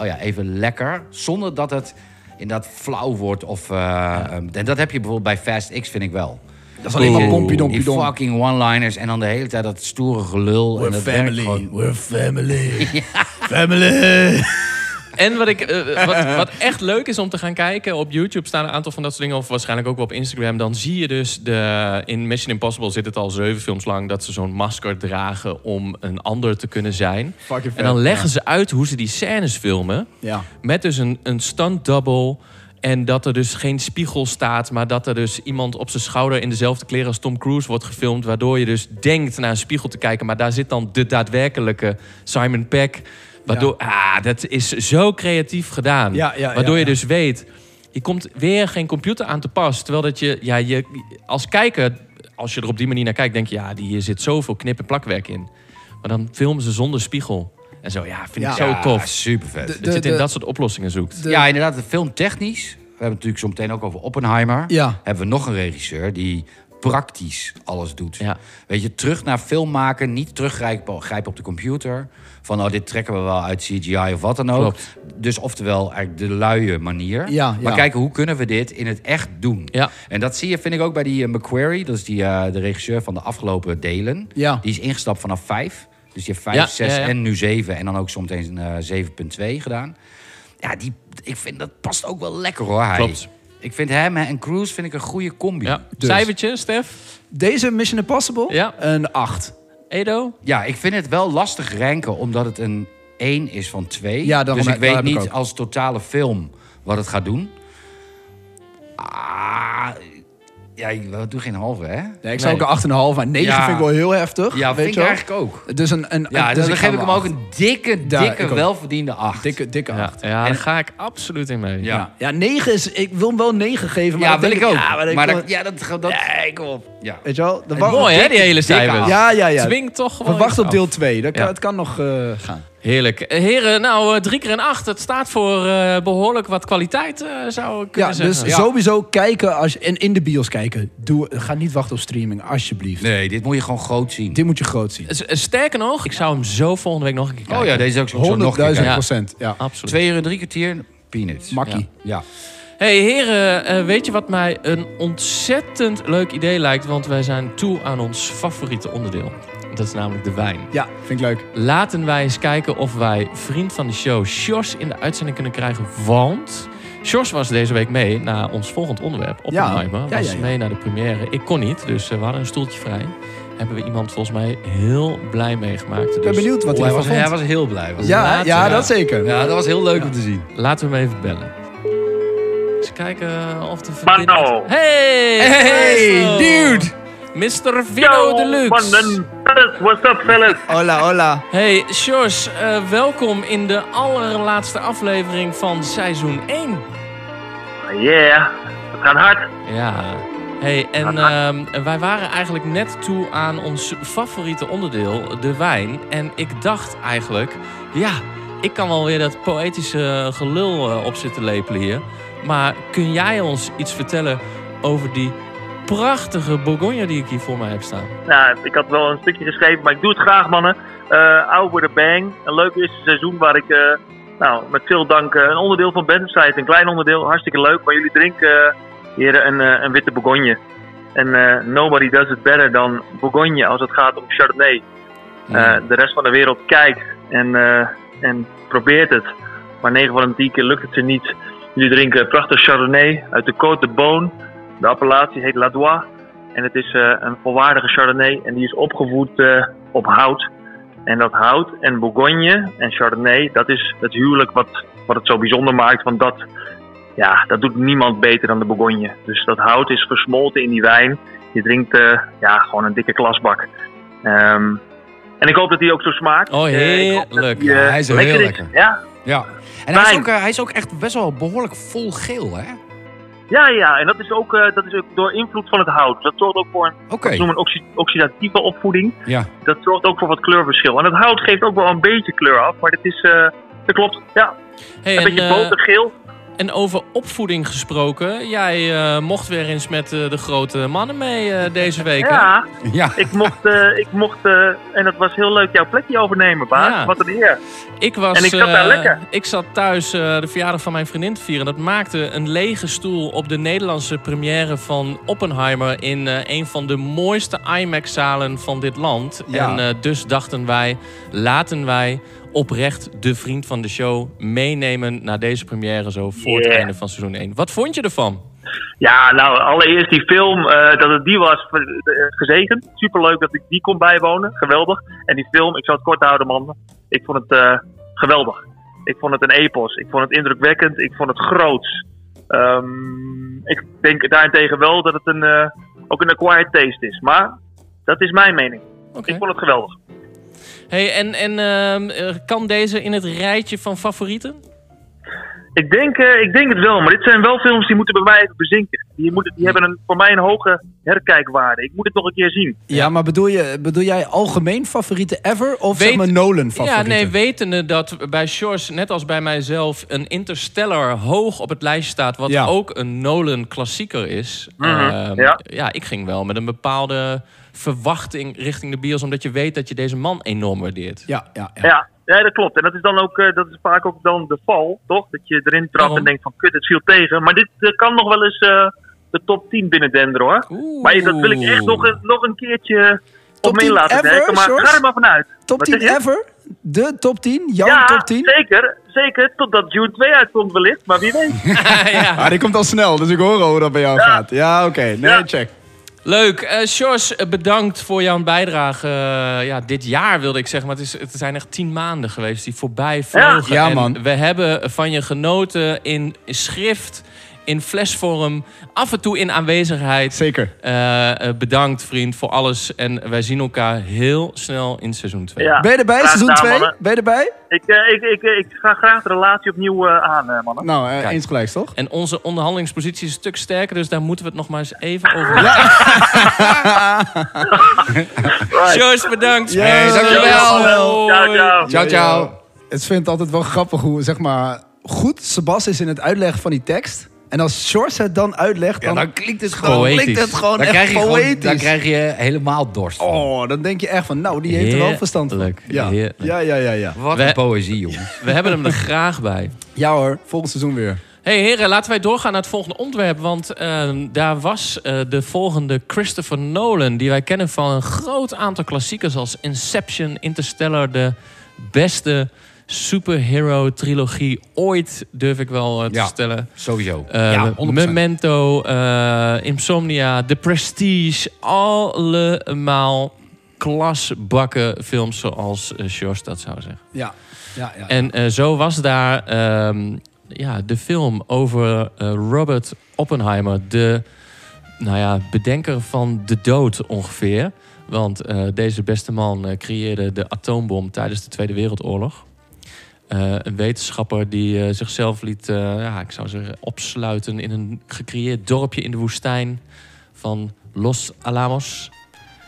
Speaker 4: Oh ja, even lekker. Zonder dat het inderdaad flauw wordt. Of, eh, ehm, en dat heb je bijvoorbeeld bij Fast X vind ik wel. Dat is
Speaker 5: alleen maar pompie, dompie,
Speaker 4: Oh. Die
Speaker 5: dom.
Speaker 4: fucking one-liners en dan de hele tijd dat stoere gelul. en
Speaker 1: We're
Speaker 4: dat werkt
Speaker 1: family.
Speaker 4: gewoon-
Speaker 1: We're family. Family.
Speaker 3: En wat, ik, eh, wat, wat echt leuk is om te gaan kijken... op YouTube staan een aantal van dat soort dingen... of waarschijnlijk ook wel op Instagram. Dan zie je dus, de, in Mission Impossible zit het al zeven films lang... dat ze zo'n masker dragen om een ander te kunnen zijn.
Speaker 5: Fucking
Speaker 3: En dan
Speaker 5: vet,
Speaker 3: leggen ze uit hoe ze die scènes filmen...
Speaker 5: Ja.
Speaker 3: met dus een, een stunt double... En dat er dus geen spiegel staat, maar dat er dus iemand op zijn schouder in dezelfde kleren als Tom Cruise wordt gefilmd. Waardoor je dus denkt naar een spiegel te kijken, maar daar zit dan de daadwerkelijke Simon Peck. Waardoor, ah, dat is zo creatief gedaan.
Speaker 5: Ja, ja, ja,
Speaker 3: waardoor je
Speaker 5: ja.
Speaker 3: dus weet, je komt weer geen computer aan te pas. Terwijl dat je, ja, je als kijker, als je er op die manier naar kijkt, denk je, ja, die- hier zit zoveel knip- en plakwerk in. Maar dan filmen ze zonder spiegel. En zo, ja, vind ik
Speaker 5: Ja.
Speaker 3: zo tof.
Speaker 4: super vet.
Speaker 5: De-
Speaker 3: dat je het in
Speaker 5: de-
Speaker 3: dat soort oplossingen zoekt.
Speaker 5: de-
Speaker 4: ja, inderdaad, de film technisch. We hebben het natuurlijk zo meteen ook over Oppenheimer.
Speaker 5: Ja.
Speaker 4: Hebben we nog een regisseur die praktisch alles doet.
Speaker 3: Ja.
Speaker 4: Weet je, terug naar film maken, niet teruggrijpen grijpen op de computer. Van, oh, dit trekken we wel uit CGI of wat dan ook.
Speaker 3: Klopt.
Speaker 4: Dus oftewel eigenlijk de luie manier.
Speaker 5: Ja,
Speaker 4: Maar
Speaker 5: ja.
Speaker 4: kijken, hoe kunnen we dit in het echt doen?
Speaker 3: Ja.
Speaker 4: En dat zie je, vind ik ook bij die eh, McQuarrie. Dat is die, eh, de regisseur van de afgelopen delen.
Speaker 5: Ja.
Speaker 4: Die is ingestapt vanaf vijf. Dus je hebt vijf,
Speaker 3: Ja,
Speaker 4: zes
Speaker 3: ja, ja.
Speaker 4: en nu zeven. En dan ook soms eens een, eh, 7.2 gedaan. Ja, die, ik vind dat past ook wel lekker hoor. Hij.
Speaker 3: Klopt.
Speaker 4: Ik vind hem en Cruise vind ik een goede combi.
Speaker 3: Ja.
Speaker 5: Dus.
Speaker 3: Cijfertje, Stef?
Speaker 5: Deze Mission Impossible?
Speaker 3: Ja.
Speaker 5: Een 8.
Speaker 3: Edo?
Speaker 4: Ja, ik vind het wel lastig ranken, omdat het een 1 is van 2.
Speaker 5: Ja,
Speaker 4: dus
Speaker 5: daarom
Speaker 4: ik
Speaker 5: heb- daar
Speaker 4: weet
Speaker 5: heb ik
Speaker 4: niet
Speaker 5: ook.
Speaker 4: als totale film wat het gaat doen. Ah, ja, ik- we doen geen halve, hè?
Speaker 5: Nee, ik zou
Speaker 3: Nee.
Speaker 5: ook een 8,5, maar 9
Speaker 4: Ja.
Speaker 5: vind ik wel heel heftig.
Speaker 4: Ja,
Speaker 5: weet
Speaker 4: vind
Speaker 5: je
Speaker 4: ik
Speaker 5: wel.
Speaker 4: eigenlijk ook.
Speaker 5: Dus een, een,
Speaker 4: Ja,
Speaker 5: dus
Speaker 4: dan
Speaker 5: ga
Speaker 4: geef ik hem
Speaker 5: wel
Speaker 4: ook
Speaker 5: acht.
Speaker 4: een dikke,
Speaker 5: Ja, ik
Speaker 4: dikke,
Speaker 5: ook.
Speaker 4: welverdiende 8.
Speaker 5: dikke, dikke
Speaker 3: Ja,
Speaker 5: 8. Ja.
Speaker 3: ja daar ga ik absoluut in mee.
Speaker 4: Ja.
Speaker 5: Ja. 9 is... Ik wil hem wel 9 geven, maar
Speaker 4: Ja,
Speaker 5: dan
Speaker 4: wil
Speaker 5: denk
Speaker 4: ik ook.
Speaker 5: Ja, maar,
Speaker 4: maar
Speaker 5: dan-
Speaker 4: dat, ja, dat, dat... Ja, kom op. Ja.
Speaker 5: Weet je wel? De wa-
Speaker 3: Mooi hè, die hele cijfers.
Speaker 4: acht.
Speaker 5: Ja, ja, ja.
Speaker 3: Dwing toch
Speaker 5: We
Speaker 3: gewoon
Speaker 5: wachten op
Speaker 3: iets af.
Speaker 5: deel 2. Dat kan,
Speaker 3: Ja.
Speaker 5: Het kan nog eh, gaan.
Speaker 3: Heerlijk. Eh, Heren, nou eh, drie keer een acht. Dat staat voor eh, behoorlijk wat kwaliteit, eh, zou ik
Speaker 5: Ja,
Speaker 3: kunnen
Speaker 5: dus
Speaker 3: zeggen. Ja.
Speaker 5: sowieso kijken als, je- en in de bios kijken. Doe, ga niet wachten op streaming, alsjeblieft.
Speaker 4: Nee, dit moet je gewoon groot zien.
Speaker 5: Dit moet je groot zien.
Speaker 3: S- eh, Sterker nog, ik zou hem zo volgende week nog een keer kijken.
Speaker 4: Oh ja, deze is ook zo nog een keer kijken.
Speaker 5: 100.000
Speaker 3: Ja.
Speaker 5: procent. Ja.
Speaker 3: Absoluut.
Speaker 4: Twee uur en drie kwartier, peanuts.
Speaker 5: Makkie.
Speaker 4: ja.
Speaker 3: Hey heren, eh, weet je wat mij een ontzettend leuk idee lijkt? Want wij zijn toe aan ons favoriete onderdeel. Dat is namelijk de wijn.
Speaker 5: Ja, vind ik leuk.
Speaker 3: Laten wij eens kijken of wij vriend van de show Sjors in de uitzending kunnen krijgen. Want Sjors was deze week mee naar ons volgend onderwerp. Oppenheimer.
Speaker 5: Ja, ja,
Speaker 3: Was
Speaker 5: ja.
Speaker 3: mee naar de première. Ik kon niet, dus eh, we hadden een stoeltje vrij. Hebben we iemand volgens mij heel blij meegemaakt.
Speaker 5: Ik ben
Speaker 3: Dus
Speaker 5: benieuwd wat hij
Speaker 4: Hij
Speaker 5: ervan
Speaker 4: was,
Speaker 5: vond.
Speaker 4: hij was heel blij. was
Speaker 5: ja,
Speaker 3: later,
Speaker 5: ja,
Speaker 3: ja.
Speaker 5: dat zeker.
Speaker 4: hij. Ja, dat was heel leuk om te zien.
Speaker 3: laten we hem even bellen. Eens kijken eh, of de verbinding...
Speaker 6: Mano.
Speaker 3: Hey! Marcel. Mr. Vino Deluxe.
Speaker 6: fellas, what's up, fellas?
Speaker 5: Hola, hola.
Speaker 3: Hey, Sjors. eh, welkom in de allerlaatste aflevering van seizoen 1.
Speaker 6: Yeah, we gaan hard.
Speaker 3: Ja. Hey, en ehm, wij waren eigenlijk net toe aan ons favoriete onderdeel, de wijn. En ik dacht eigenlijk, ja, ik kan wel weer dat poëtische gelul eh, op zitten lepelen hier. Maar kun jij ons iets vertellen over die prachtige Bourgogne die ik hier voor mij heb staan?
Speaker 6: Nou, ik had wel een stukje geschreven, maar ik doe het graag, mannen. Eh Oude de Bang, een leuk eerste seizoen waar ik eh, nou, met veel dank eh, een onderdeel van ben Site, een klein onderdeel, hartstikke leuk. Maar jullie drinken, eh, heren, een, eh, een witte Bourgogne. En eh, nobody does it better dan Bourgogne als het gaat om Chardonnay. Eh, de rest van de wereld kijkt en, eh, en probeert het. Maar 9 van de 10 keer lukt het ze niet. Jullie drinken prachtig Chardonnay uit de Côte de Beaune. De appellatie heet La Doix. En het is eh, een volwaardige Chardonnay. En die is opgevoed eh, op hout. En dat hout en Bourgogne en Chardonnay, dat is het huwelijk wat, wat het zo bijzonder maakt. Want dat ja, dat doet niemand beter dan de Bourgogne. Dus dat hout is gesmolten in die wijn. Je drinkt eh, ja, gewoon een dikke klasbak. Ehm, en ik hoop dat die ook zo smaakt.
Speaker 3: Oh,
Speaker 6: Eh, ik hoop dat
Speaker 3: heerlijk.
Speaker 6: die, eh,
Speaker 4: Ja, hij is heel
Speaker 6: lekker
Speaker 4: lekker.
Speaker 6: Ja,
Speaker 4: Ja. En hij is,
Speaker 6: Fijn.
Speaker 4: ook, eh, hij is ook echt best wel behoorlijk vol geel, hè?
Speaker 6: Ja, ja, en dat is ook, eh, dat is ook door invloed van het hout. Dat zorgt ook voor een,
Speaker 4: Oké.
Speaker 6: dat noemen we een oxi- oxidatieve opvoeding.
Speaker 4: Ja.
Speaker 6: Dat zorgt ook voor wat kleurverschil. En het hout geeft ook wel een beetje kleur af, maar dat is, eh, dat klopt. Ja,
Speaker 3: Hey,
Speaker 6: een
Speaker 3: en,
Speaker 6: beetje
Speaker 3: eh,
Speaker 6: botergeel.
Speaker 3: en over opvoeding gesproken. Jij eh, mocht weer eens met eh, de grote mannen mee eh, deze week. hè?
Speaker 6: Ja,
Speaker 4: Ja.
Speaker 6: ik mocht, eh, ik mocht eh, en dat was heel leuk, jouw plekje overnemen, baas.
Speaker 3: Ja.
Speaker 6: Wat een eer.
Speaker 3: Ik was,
Speaker 6: En ik zat daar
Speaker 3: eh,
Speaker 6: lekker.
Speaker 3: Ik zat thuis eh, de verjaardag van mijn vriendin te vieren. Dat maakte een lege stoel op de Nederlandse première van Oppenheimer... in eh, een van de mooiste IMAX-zalen van dit land.
Speaker 4: Ja.
Speaker 3: En eh, dus dachten wij, laten wij oprecht de vriend van de show meenemen... naar deze première zo voor het
Speaker 6: Yeah.
Speaker 3: einde van seizoen 1. Wat vond je ervan?
Speaker 6: Ja, nou, allereerst die film, eh, dat het die was, eh, gezegend. Superleuk dat ik die kon bijwonen, geweldig. En die film, ik zal het kort houden, man. Ik vond het eh, geweldig. Ik vond het een epos. Ik vond het indrukwekkend. Ik vond het groots. Ehm, ik denk daarentegen wel dat het een, eh, ook een acquired taste is. Maar dat is mijn mening.
Speaker 3: Oké.
Speaker 6: Ik vond het geweldig.
Speaker 3: Hey, en en ehm, eh, kan deze in het rijtje van favorieten?
Speaker 6: Ik denk, eh, ik denk het wel, maar dit zijn wel films die moeten bij mij even bezinken. Die, moeten, die hebben een, voor mij een hoge herkijkwaarde. Ik moet het nog een keer zien.
Speaker 5: Ja, maar bedoel, je, bedoel jij algemeen favoriete ever? Of
Speaker 3: Weet-
Speaker 5: zeg maar Nolan favoriete?
Speaker 3: Ja, nee, wetende dat bij Shores, net als bij mijzelf, een Interstellar hoog op het lijstje staat, wat
Speaker 5: Ja.
Speaker 3: ook een Nolan klassieker is. Ehm,
Speaker 6: ja.
Speaker 3: ik ging wel met een bepaalde verwachting richting de bios, omdat je weet dat je deze man enorm waardeert.
Speaker 5: Ja, ja, ja.
Speaker 6: Ja, ja, dat klopt. En dat is dan ook, eh, dat is vaak ook dan de val, toch? Dat je erin trapt
Speaker 3: Daarom.
Speaker 6: en denkt van kut, het viel tegen. Maar dit eh, kan nog wel eens eh, de top 10 binnen denderen hoor.
Speaker 3: Oeh.
Speaker 6: Maar dat wil ik echt nog een, nog een keertje op
Speaker 5: Top
Speaker 6: mee
Speaker 5: 10
Speaker 6: laten
Speaker 5: ever,
Speaker 6: werken. Maar
Speaker 5: Sjors?
Speaker 6: ga er maar vanuit.
Speaker 5: Top
Speaker 6: Wat
Speaker 5: 10
Speaker 6: zeg je?
Speaker 5: ever? De top 10? Jouw
Speaker 6: Ja,
Speaker 5: top 10?
Speaker 6: zeker. Zeker. Totdat June 2 uitkomt wellicht. Maar wie weet.
Speaker 3: ja.
Speaker 1: Ah, die komt al snel, dus ik hoor al hoe dat bij jou gaat. Ja, oké. Nee,
Speaker 6: Ja.
Speaker 1: check.
Speaker 3: Leuk. Eh Sjors, eh, bedankt voor jouw bijdrage. Eh, ja, dit jaar wilde ik zeggen, maar het, is, het zijn echt tien maanden geweest die voorbij vlogen.
Speaker 5: Ja,
Speaker 3: En
Speaker 5: man.
Speaker 3: we hebben van je genoten in schrift, in flesvorm, af en toe in aanwezigheid.
Speaker 1: Zeker.
Speaker 3: Eh, eh, bedankt, vriend, voor alles. En wij zien elkaar heel snel in seizoen 2.
Speaker 6: Ja.
Speaker 5: Ben je erbij,
Speaker 6: Graag
Speaker 5: seizoen
Speaker 6: gedaan,
Speaker 5: 2?
Speaker 6: mannen.
Speaker 5: Ben je erbij?
Speaker 6: Ik, eh, ik, ik, ik ga graag de relatie opnieuw eh, aan, eh, mannen.
Speaker 1: Nou, eh, eens gelijk, toch?
Speaker 3: En onze onderhandelingspositie is een stuk sterker, dus daar moeten we het nog maar eens even over hebben. Sjors, bedankt.
Speaker 1: Hey,
Speaker 3: dankjewel.
Speaker 6: Ciao, ciao.
Speaker 4: Ciao, ciao.
Speaker 5: Het vindt altijd wel grappig hoe, zeg maar, goed Sebas is in het uitleggen van die tekst. En als Sjors het dan uitlegt, dan,
Speaker 4: dan klinkt het
Speaker 5: dan
Speaker 4: gewoon
Speaker 3: Poëtisch.
Speaker 5: klinkt het gewoon
Speaker 4: Dan
Speaker 5: echt
Speaker 4: krijg, je
Speaker 5: poëtisch.
Speaker 4: gewoon, dan krijg je helemaal dorst. van.
Speaker 5: Oh, dan denk je echt van, nou, die heeft er wel verstand van.
Speaker 3: Heerlijk,
Speaker 5: Ja.
Speaker 3: heerlijk.
Speaker 5: ja, ja, ja, ja.
Speaker 4: Wat
Speaker 3: We-
Speaker 4: een poëzie, jongens.
Speaker 3: We hebben hem er graag bij.
Speaker 5: Ja hoor, volgend seizoen weer.
Speaker 3: hey, heren, laten wij doorgaan naar het volgende onderwerp. Want eh, daar was eh, de volgende Christopher Nolan... die wij kennen van een groot aantal klassiekers als Inception, Interstellar... de beste superhero-trilogie ooit, durf ik wel eh, te
Speaker 4: Ja.
Speaker 3: stellen.
Speaker 4: Sowieso.
Speaker 3: Eh,
Speaker 4: ja, 100%.
Speaker 3: Memento, eh, Insomnia, The Prestige. Allemaal klasbakken films zoals eh, Sjors dat zou zeggen.
Speaker 5: Ja, ja, ja.
Speaker 3: En eh, zo was daar ehm, ja, de film over eh, Robert Oppenheimer, de nou ja, bedenker van de dood ongeveer. Want eh, deze beste man eh, creëerde de atoombom tijdens de Tweede Wereldoorlog. Eh, een wetenschapper die eh, zichzelf liet, eh, ja, ik zou zeggen, opsluiten in een gecreëerd dorpje in de woestijn van Los Alamos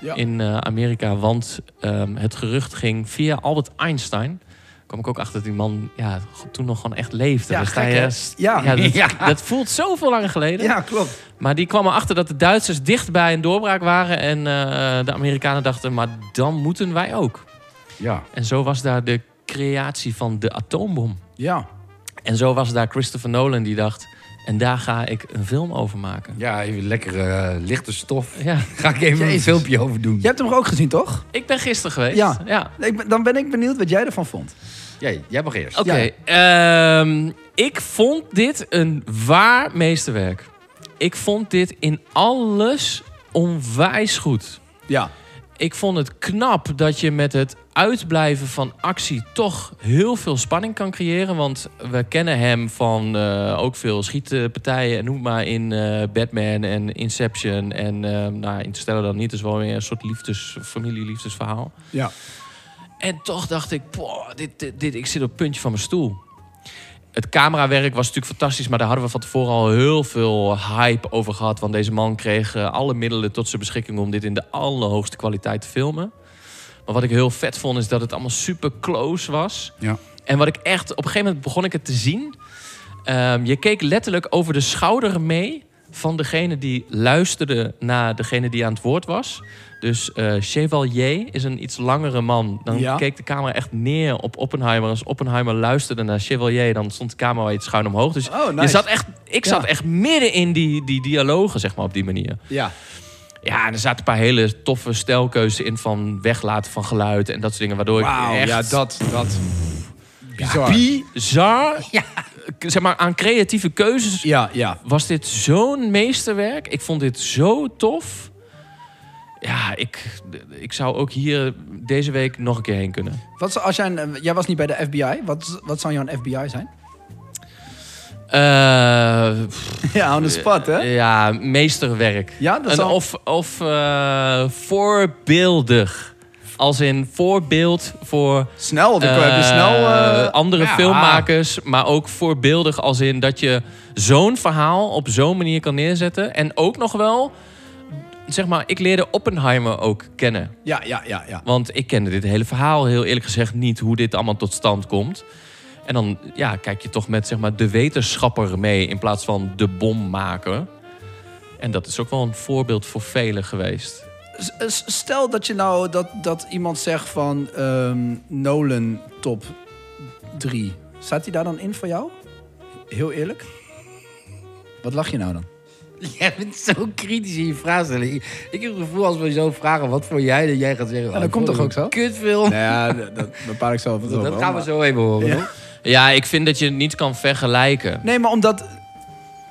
Speaker 5: Ja.
Speaker 3: in eh, Amerika. Want ehm, het gerucht ging via Albert Einstein. Kom ik ook achter dat die man ja, toen nog gewoon echt leefde. Dus
Speaker 5: Ja,
Speaker 3: Dan sta
Speaker 5: gek,
Speaker 3: je-
Speaker 5: hè? Ja.
Speaker 3: dat,
Speaker 4: Ja.
Speaker 3: dat voelt zoveel langer geleden.
Speaker 5: ja, klopt.
Speaker 3: Maar die kwam erachter dat de Duitsers dichtbij een doorbraak waren. En eh, de Amerikanen dachten, maar dan moeten wij ook.
Speaker 4: Ja.
Speaker 3: En zo was daar de creatie van de atoombom.
Speaker 5: Ja.
Speaker 3: En zo was daar Christopher Nolan die dacht... en daar ga ik een film over maken.
Speaker 4: ja, even lekkere eh, lichte stof.
Speaker 3: Ja,
Speaker 4: Ga ik even een
Speaker 5: Jezus.
Speaker 4: filmpje over doen.
Speaker 5: Je hebt hem ook gezien, toch?
Speaker 3: ik ben gisteren geweest.
Speaker 5: Ja.
Speaker 3: ja.
Speaker 5: Ik ben- dan ben ik benieuwd wat jij ervan vond.
Speaker 4: Jij, jij mag eerst.
Speaker 3: Oké,
Speaker 5: Ja.
Speaker 3: ehm, ik vond dit een waar meesterwerk. Ik vond dit in alles onwijs goed.
Speaker 5: Ja.
Speaker 3: Ik vond het knap dat je met het uitblijven van actie toch heel veel spanning kan creëren. Want we kennen hem van eh, ook veel schietpartijen. en Noem maar in eh, Batman en Inception. En eh nou, Interstellar dan niet. is wel weer een soort liefdes, familieliefdesverhaal.
Speaker 5: Ja.
Speaker 3: En toch dacht ik, boah, dit, dit, dit, ik zit op het puntje van mijn stoel. Het camerawerk was natuurlijk fantastisch, maar daar hadden we van tevoren al heel veel hype over gehad. Want deze man kreeg eh, alle middelen tot zijn beschikking om dit in de allerhoogste kwaliteit te filmen. Maar wat ik heel vet vond, is dat het allemaal super close was.
Speaker 4: Ja.
Speaker 3: En wat ik echt, op een gegeven moment begon ik het te zien. Ehm, je keek letterlijk over de schouder mee van degene die luisterde naar degene die aan het woord was. Dus eh, Chevalier is een iets langere man. Dan
Speaker 5: Ja.
Speaker 3: keek de camera echt neer op Oppenheimer. Als Oppenheimer luisterde naar Chevalier, dan stond de camera iets schuin omhoog. Dus
Speaker 5: Oh, nice.
Speaker 3: je zat echt, ik
Speaker 5: Ja.
Speaker 3: zat echt midden in die, die dialogen, zeg maar, op die manier.
Speaker 5: Ja.
Speaker 3: Ja, en er zaten een paar hele toffe stijlkeuzen in van weglaten van geluid en dat soort dingen. Waardoor
Speaker 5: Wauw,
Speaker 3: ik echt
Speaker 5: ja, dat, dat. Bizar.
Speaker 3: bizar. k- Zeg maar, aan creatieve keuzes
Speaker 5: Ja, ja.
Speaker 3: was dit zo'n meesterwerk. Ik vond dit zo tof. Ja, ik, ik zou ook hier deze week nog een keer heen kunnen.
Speaker 5: Wat zou- als jij, een, eh, jij was niet bij de FBI. Wat, wat zou jouw FBI zijn?
Speaker 3: Eh, pff,
Speaker 5: ja, on the spot, hè?
Speaker 3: ja, meesterwerk.
Speaker 5: Ja, dat
Speaker 3: Een
Speaker 5: zou-
Speaker 3: Of, of eh, voorbeeldig. Als in voorbeeld voor
Speaker 5: Snel, dan heb je snel...
Speaker 3: eh,
Speaker 5: eh,
Speaker 3: andere
Speaker 4: ja.
Speaker 3: filmmakers, maar ook voorbeeldig als in dat je zo'n verhaal op zo'n manier kan neerzetten. En ook nog wel, zeg maar, ik leerde Oppenheimer ook kennen.
Speaker 5: ja, ja, ja, ja.
Speaker 3: Want ik kende dit hele verhaal heel eerlijk gezegd niet hoe dit allemaal tot stand komt. En dan ja, kijk je toch met zeg maar, de wetenschapper mee in plaats van de bommaker. En dat is ook wel een voorbeeld voor velen geweest.
Speaker 5: S- s- Stel dat je nou dat, dat iemand zegt van ehm, Nolan top 3. Staat die daar dan in voor jou? Heel eerlijk? Wat lach je nou dan?
Speaker 4: Jij bent zo kritisch in je vraagstelling. Ik, ik heb het gevoel als we zo vragen, wat voor jij, dat jij gaat zeggen...
Speaker 5: dat
Speaker 4: oh,
Speaker 5: komt
Speaker 4: ik
Speaker 5: toch
Speaker 4: vond het
Speaker 5: ook
Speaker 4: een Kutfilm.
Speaker 5: Nou ja, dat, dat bepaal ik zelf.
Speaker 4: dat gaan we zo even horen,
Speaker 5: Ja.
Speaker 4: hoor.
Speaker 3: Ja, ik vind dat je het niet kan vergelijken.
Speaker 5: Nee, maar omdat...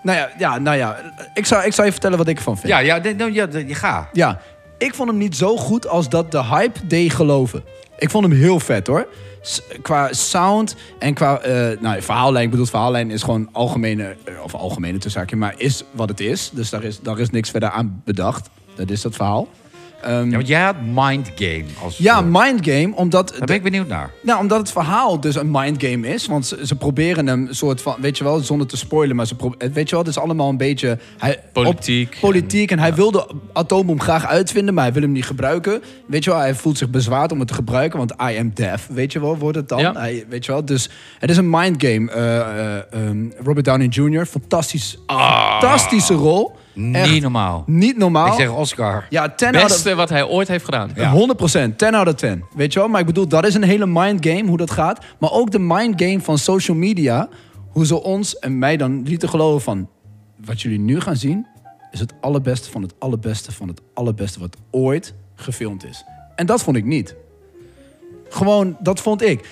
Speaker 5: Nou ja, ja, nou ja ik, zou, ik zou je vertellen wat ik ervan vind.
Speaker 4: Ja, ja, nee, nou, ja, d- ja, ga.
Speaker 5: Ja, ik vond hem niet zo goed als dat de hype deed geloven. Ik vond hem heel vet hoor. S- qua sound en qua eh, nou, verhaallijn. Ik bedoel, verhaallijn is gewoon algemene, eh, of algemene tussenhaakje, maar is wat het is. Dus daar is, daar is niks verder aan bedacht. Dat is dat verhaal. Ehm,
Speaker 4: Ja,
Speaker 5: ja,
Speaker 4: want jij had Mind Game als woord.
Speaker 5: Mind Game, omdat.
Speaker 4: Daar ben ik benieuwd naar.
Speaker 5: Nou, omdat het verhaal dus een mindgame is. Want ze, ze proberen hem soort van, weet je wel, zonder te spoilen, maar ze pro- eh, weet je wel, het is allemaal een beetje hij,
Speaker 3: Politiek.
Speaker 5: op- politiek en hij wil de atoombom graag uitvinden, maar hij wil hem niet gebruiken. Weet je wel, hij voelt zich bezwaard om het te gebruiken, want I am death. Weet je wel, wordt het dan?
Speaker 3: Ja.
Speaker 5: Hij, weet je wel, dus het is een mindgame. Eh, eh, ehm, Robert Downey Jr. Fantastisch, fantastische rol. Echt
Speaker 4: Ah. Niet normaal.
Speaker 5: niet normaal.
Speaker 4: Ik zeg Oscar.
Speaker 5: ja, 10 out of-
Speaker 3: beste wat hij ooit heeft gedaan.
Speaker 5: ja. 100%, 10 out of 10. Weet je wel? Maar ik bedoel, dat is een hele mind game hoe dat gaat. Maar ook de mind game van social media. Hoe ze ons en mij dan lieten geloven van... Wat jullie nu gaan zien is het allerbeste van het allerbeste van het allerbeste wat ooit gefilmd is. En dat vond ik niet. Gewoon, dat vond ik.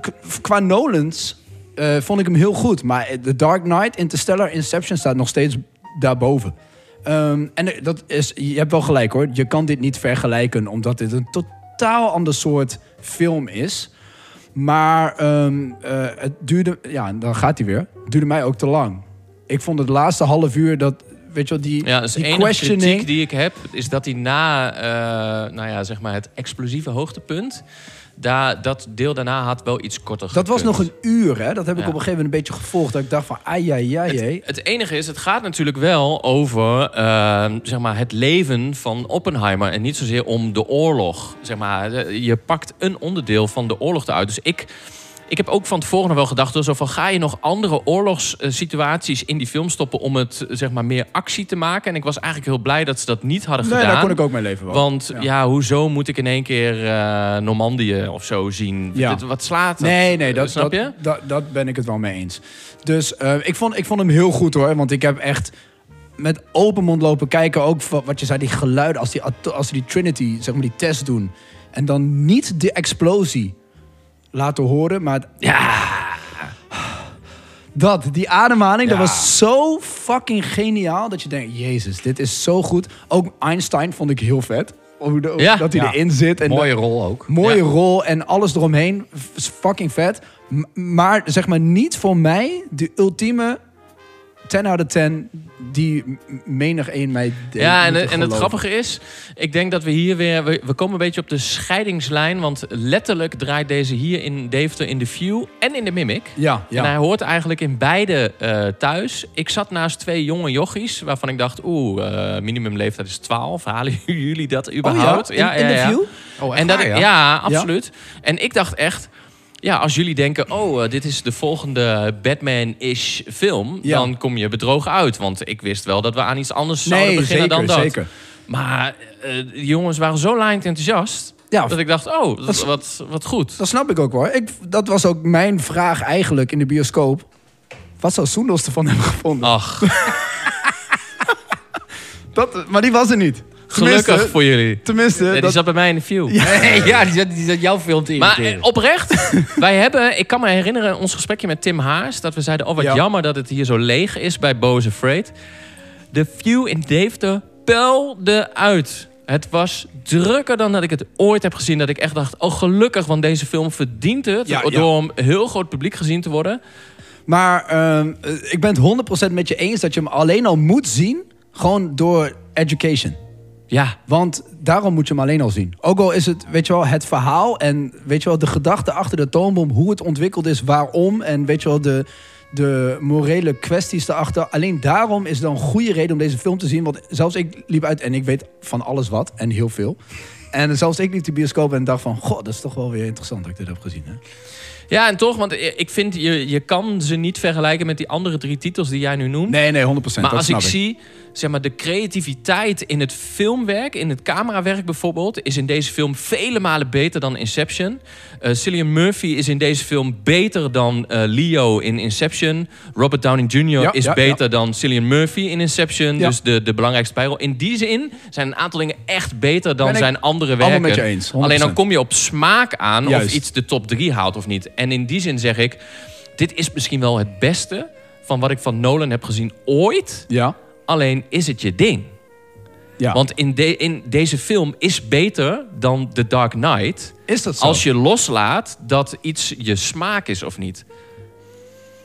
Speaker 5: K- qua Nolans eh, vond ik hem heel goed. Maar The Dark Knight, Interstellar, Inception staat nog steeds daarboven. Ehm, en er- dat is, je hebt wel gelijk hoor. Je kan dit niet vergelijken, omdat dit een totaal ander soort film is. Maar ehm, eh, het duurde, ja, dan gaat hij weer. Het duurde mij ook te lang. Ik vond het laatste half uur dat, weet je wel, die,
Speaker 3: Ja, dus de
Speaker 5: die
Speaker 3: enige kritiek die ik heb is dat hij na eh, nou ja, zeg maar het explosieve hoogtepunt, daar, dat deel daarna had wel iets korter
Speaker 5: Dat was nog
Speaker 3: gekund.
Speaker 5: een uur, hè? Dat heb ik
Speaker 3: Ja.
Speaker 5: op een gegeven moment een beetje gevolgd. Dat ik dacht van, ai, ai, ai, ai.
Speaker 3: Het enige is, het gaat natuurlijk wel over eh, zeg maar het leven van Oppenheimer en niet zozeer om de oorlog. Zeg maar, eh, je pakt een onderdeel van de oorlog eruit. Dus ik, ik heb ook van tevoren nog wel gedacht, door zo van, ga je nog andere oorlogssituaties in die film stoppen om het eh, zeg maar, meer actie te maken? En ik was eigenlijk heel blij dat ze dat niet hadden
Speaker 5: Nee,
Speaker 3: gedaan.
Speaker 5: daar kon ik ook mee leven. wel.
Speaker 3: Want
Speaker 5: Ja.
Speaker 3: ja. hoezo moet ik in één keer eh Normandië of zo zien?
Speaker 5: Ja.
Speaker 3: Dit- wat slaat dat?
Speaker 5: Nee, nee, dat,
Speaker 3: Eh, snap
Speaker 5: dat,
Speaker 3: je?
Speaker 5: Dat, dat ben ik het wel mee eens. Dus eh, ik, vond, ik vond hem heel goed hoor. Want ik heb echt met open mond lopen kijken. Ook wat, wat je zei, die geluiden. Als die, ato- als ze die Trinity, zeg maar, die test doen. En dan niet de explosie laten horen. Maar het- dat, die ademhaling, dat was zo fucking geniaal. Dat je denkt, jezus, dit is zo goed. Ook Einstein vond ik heel vet. Hoe de- hoe-
Speaker 3: Ja.
Speaker 5: dat hij
Speaker 4: Ja.
Speaker 5: erin zit. En
Speaker 4: Mooie rol ook.
Speaker 5: Mooie
Speaker 3: Ja.
Speaker 5: rol en alles eromheen. F- is Fucking vet. M- maar zeg maar niet voor mij de ultieme 10 out of 10 die m- menig één mij deed
Speaker 3: Ja, en,
Speaker 5: moeten
Speaker 3: en het
Speaker 5: geloven.
Speaker 3: grappige is, ik denk dat we hier weer... We, we komen een beetje op de scheidingslijn. Want letterlijk draait deze hier in Deventer in de View en in de Mimic.
Speaker 5: Ja, ja.
Speaker 3: En hij hoort eigenlijk in beide eh, thuis. Ik zat naast twee jonge jochies waarvan ik dacht... Oeh, eh, minimumleeftijd is 12. Halen jullie dat überhaupt?
Speaker 5: Oh In, in de view?
Speaker 4: Oh, echt
Speaker 3: En dat,
Speaker 4: waar,
Speaker 3: ik- ja, absoluut. En ik dacht echt, ja, als jullie denken, oh, eh, dit is de volgende Batman-ish film,
Speaker 5: Ja.
Speaker 3: dan kom je bedrogen uit. Want ik wist wel dat we aan iets anders zouden beginnen
Speaker 5: zeker,
Speaker 3: dan dat.
Speaker 5: zeker.
Speaker 3: Maar eh, die jongens waren zo laaiend enthousiast.
Speaker 5: Ja,
Speaker 3: dat ik dacht, oh, dat,
Speaker 5: is-
Speaker 3: wat, wat goed.
Speaker 5: Dat snap ik ook hoor. Ik, dat was ook mijn vraag eigenlijk in de bioscoop. Wat zou Soendels ervan hebben gevonden?
Speaker 3: Ach,
Speaker 5: Dat, maar die was er niet. Tenminste-
Speaker 3: Oh. gelukkig voor jullie.
Speaker 5: Tenminste,
Speaker 3: Nee, die
Speaker 5: dat-
Speaker 3: zat bij mij in de view.
Speaker 4: ja, die zat, die zat jouw film te
Speaker 3: Maar
Speaker 4: imiteren.
Speaker 3: eh, oprecht, wij hebben, ik kan me herinneren ons gesprekje met Tim Haas, dat we zeiden, oh wat
Speaker 5: Ja.
Speaker 3: jammer dat het hier zo leeg is bij Boze Freight. De view in Deventer pelde uit. Het was drukker dan dat ik het ooit heb gezien. Dat ik echt dacht, oh gelukkig, want deze film verdient het.
Speaker 5: Ja, ja.
Speaker 3: Door een heel groot publiek gezien te worden.
Speaker 5: Maar ehm, eh, ik ben het 100% met je eens dat je hem alleen al moet zien. Gewoon door education.
Speaker 3: Ja,
Speaker 5: Want daarom moet je hem alleen al zien. Ook al is het, weet je wel, het verhaal en weet je wel, de gedachte achter de toonbom, hoe het ontwikkeld is, waarom en weet je wel, de, de morele kwesties erachter. Alleen daarom is dan een goede reden om deze film te zien. Want zelfs ik liep uit en ik weet van alles wat en heel veel. En zelfs ik liep de bioscoop en dacht van, god, dat is toch wel weer interessant dat ik dit heb gezien. Hè?
Speaker 3: ja en toch, want ik vind, je, je kan ze niet vergelijken met die andere drie titels die jij nu noemt.
Speaker 5: Nee, nee, 100%. dat
Speaker 3: Maar als ik,
Speaker 5: snap
Speaker 3: zie, zeg maar, de creativiteit in het filmwerk, in het camerawerk bijvoorbeeld, is in deze film vele malen beter dan Inception. Eh Cillian Murphy is in deze film beter dan eh, Leo in Inception. Robert Downing Jr.
Speaker 5: Ja,
Speaker 3: is
Speaker 5: ja,
Speaker 3: beter dan Cillian Murphy in Inception.
Speaker 5: Ja.
Speaker 3: Dus de, de belangrijkste bijrol. In die zin zijn een aantal dingen echt beter dan
Speaker 5: Ben ik
Speaker 3: zijn andere
Speaker 5: allemaal
Speaker 3: werken.
Speaker 5: met je eens, 100%.
Speaker 3: Alleen dan kom je op smaak aan of
Speaker 5: Juist.
Speaker 3: iets de top 3 haalt of niet. En in die zin zeg ik, dit is misschien wel het beste van wat ik van Nolan heb gezien ooit.
Speaker 5: Ja,
Speaker 3: Alleen is het je ding.
Speaker 5: ja.
Speaker 3: Want in, de- in deze film is beter dan The Dark Knight.
Speaker 5: is dat zo?
Speaker 3: Als je loslaat dat iets je smaak is of niet.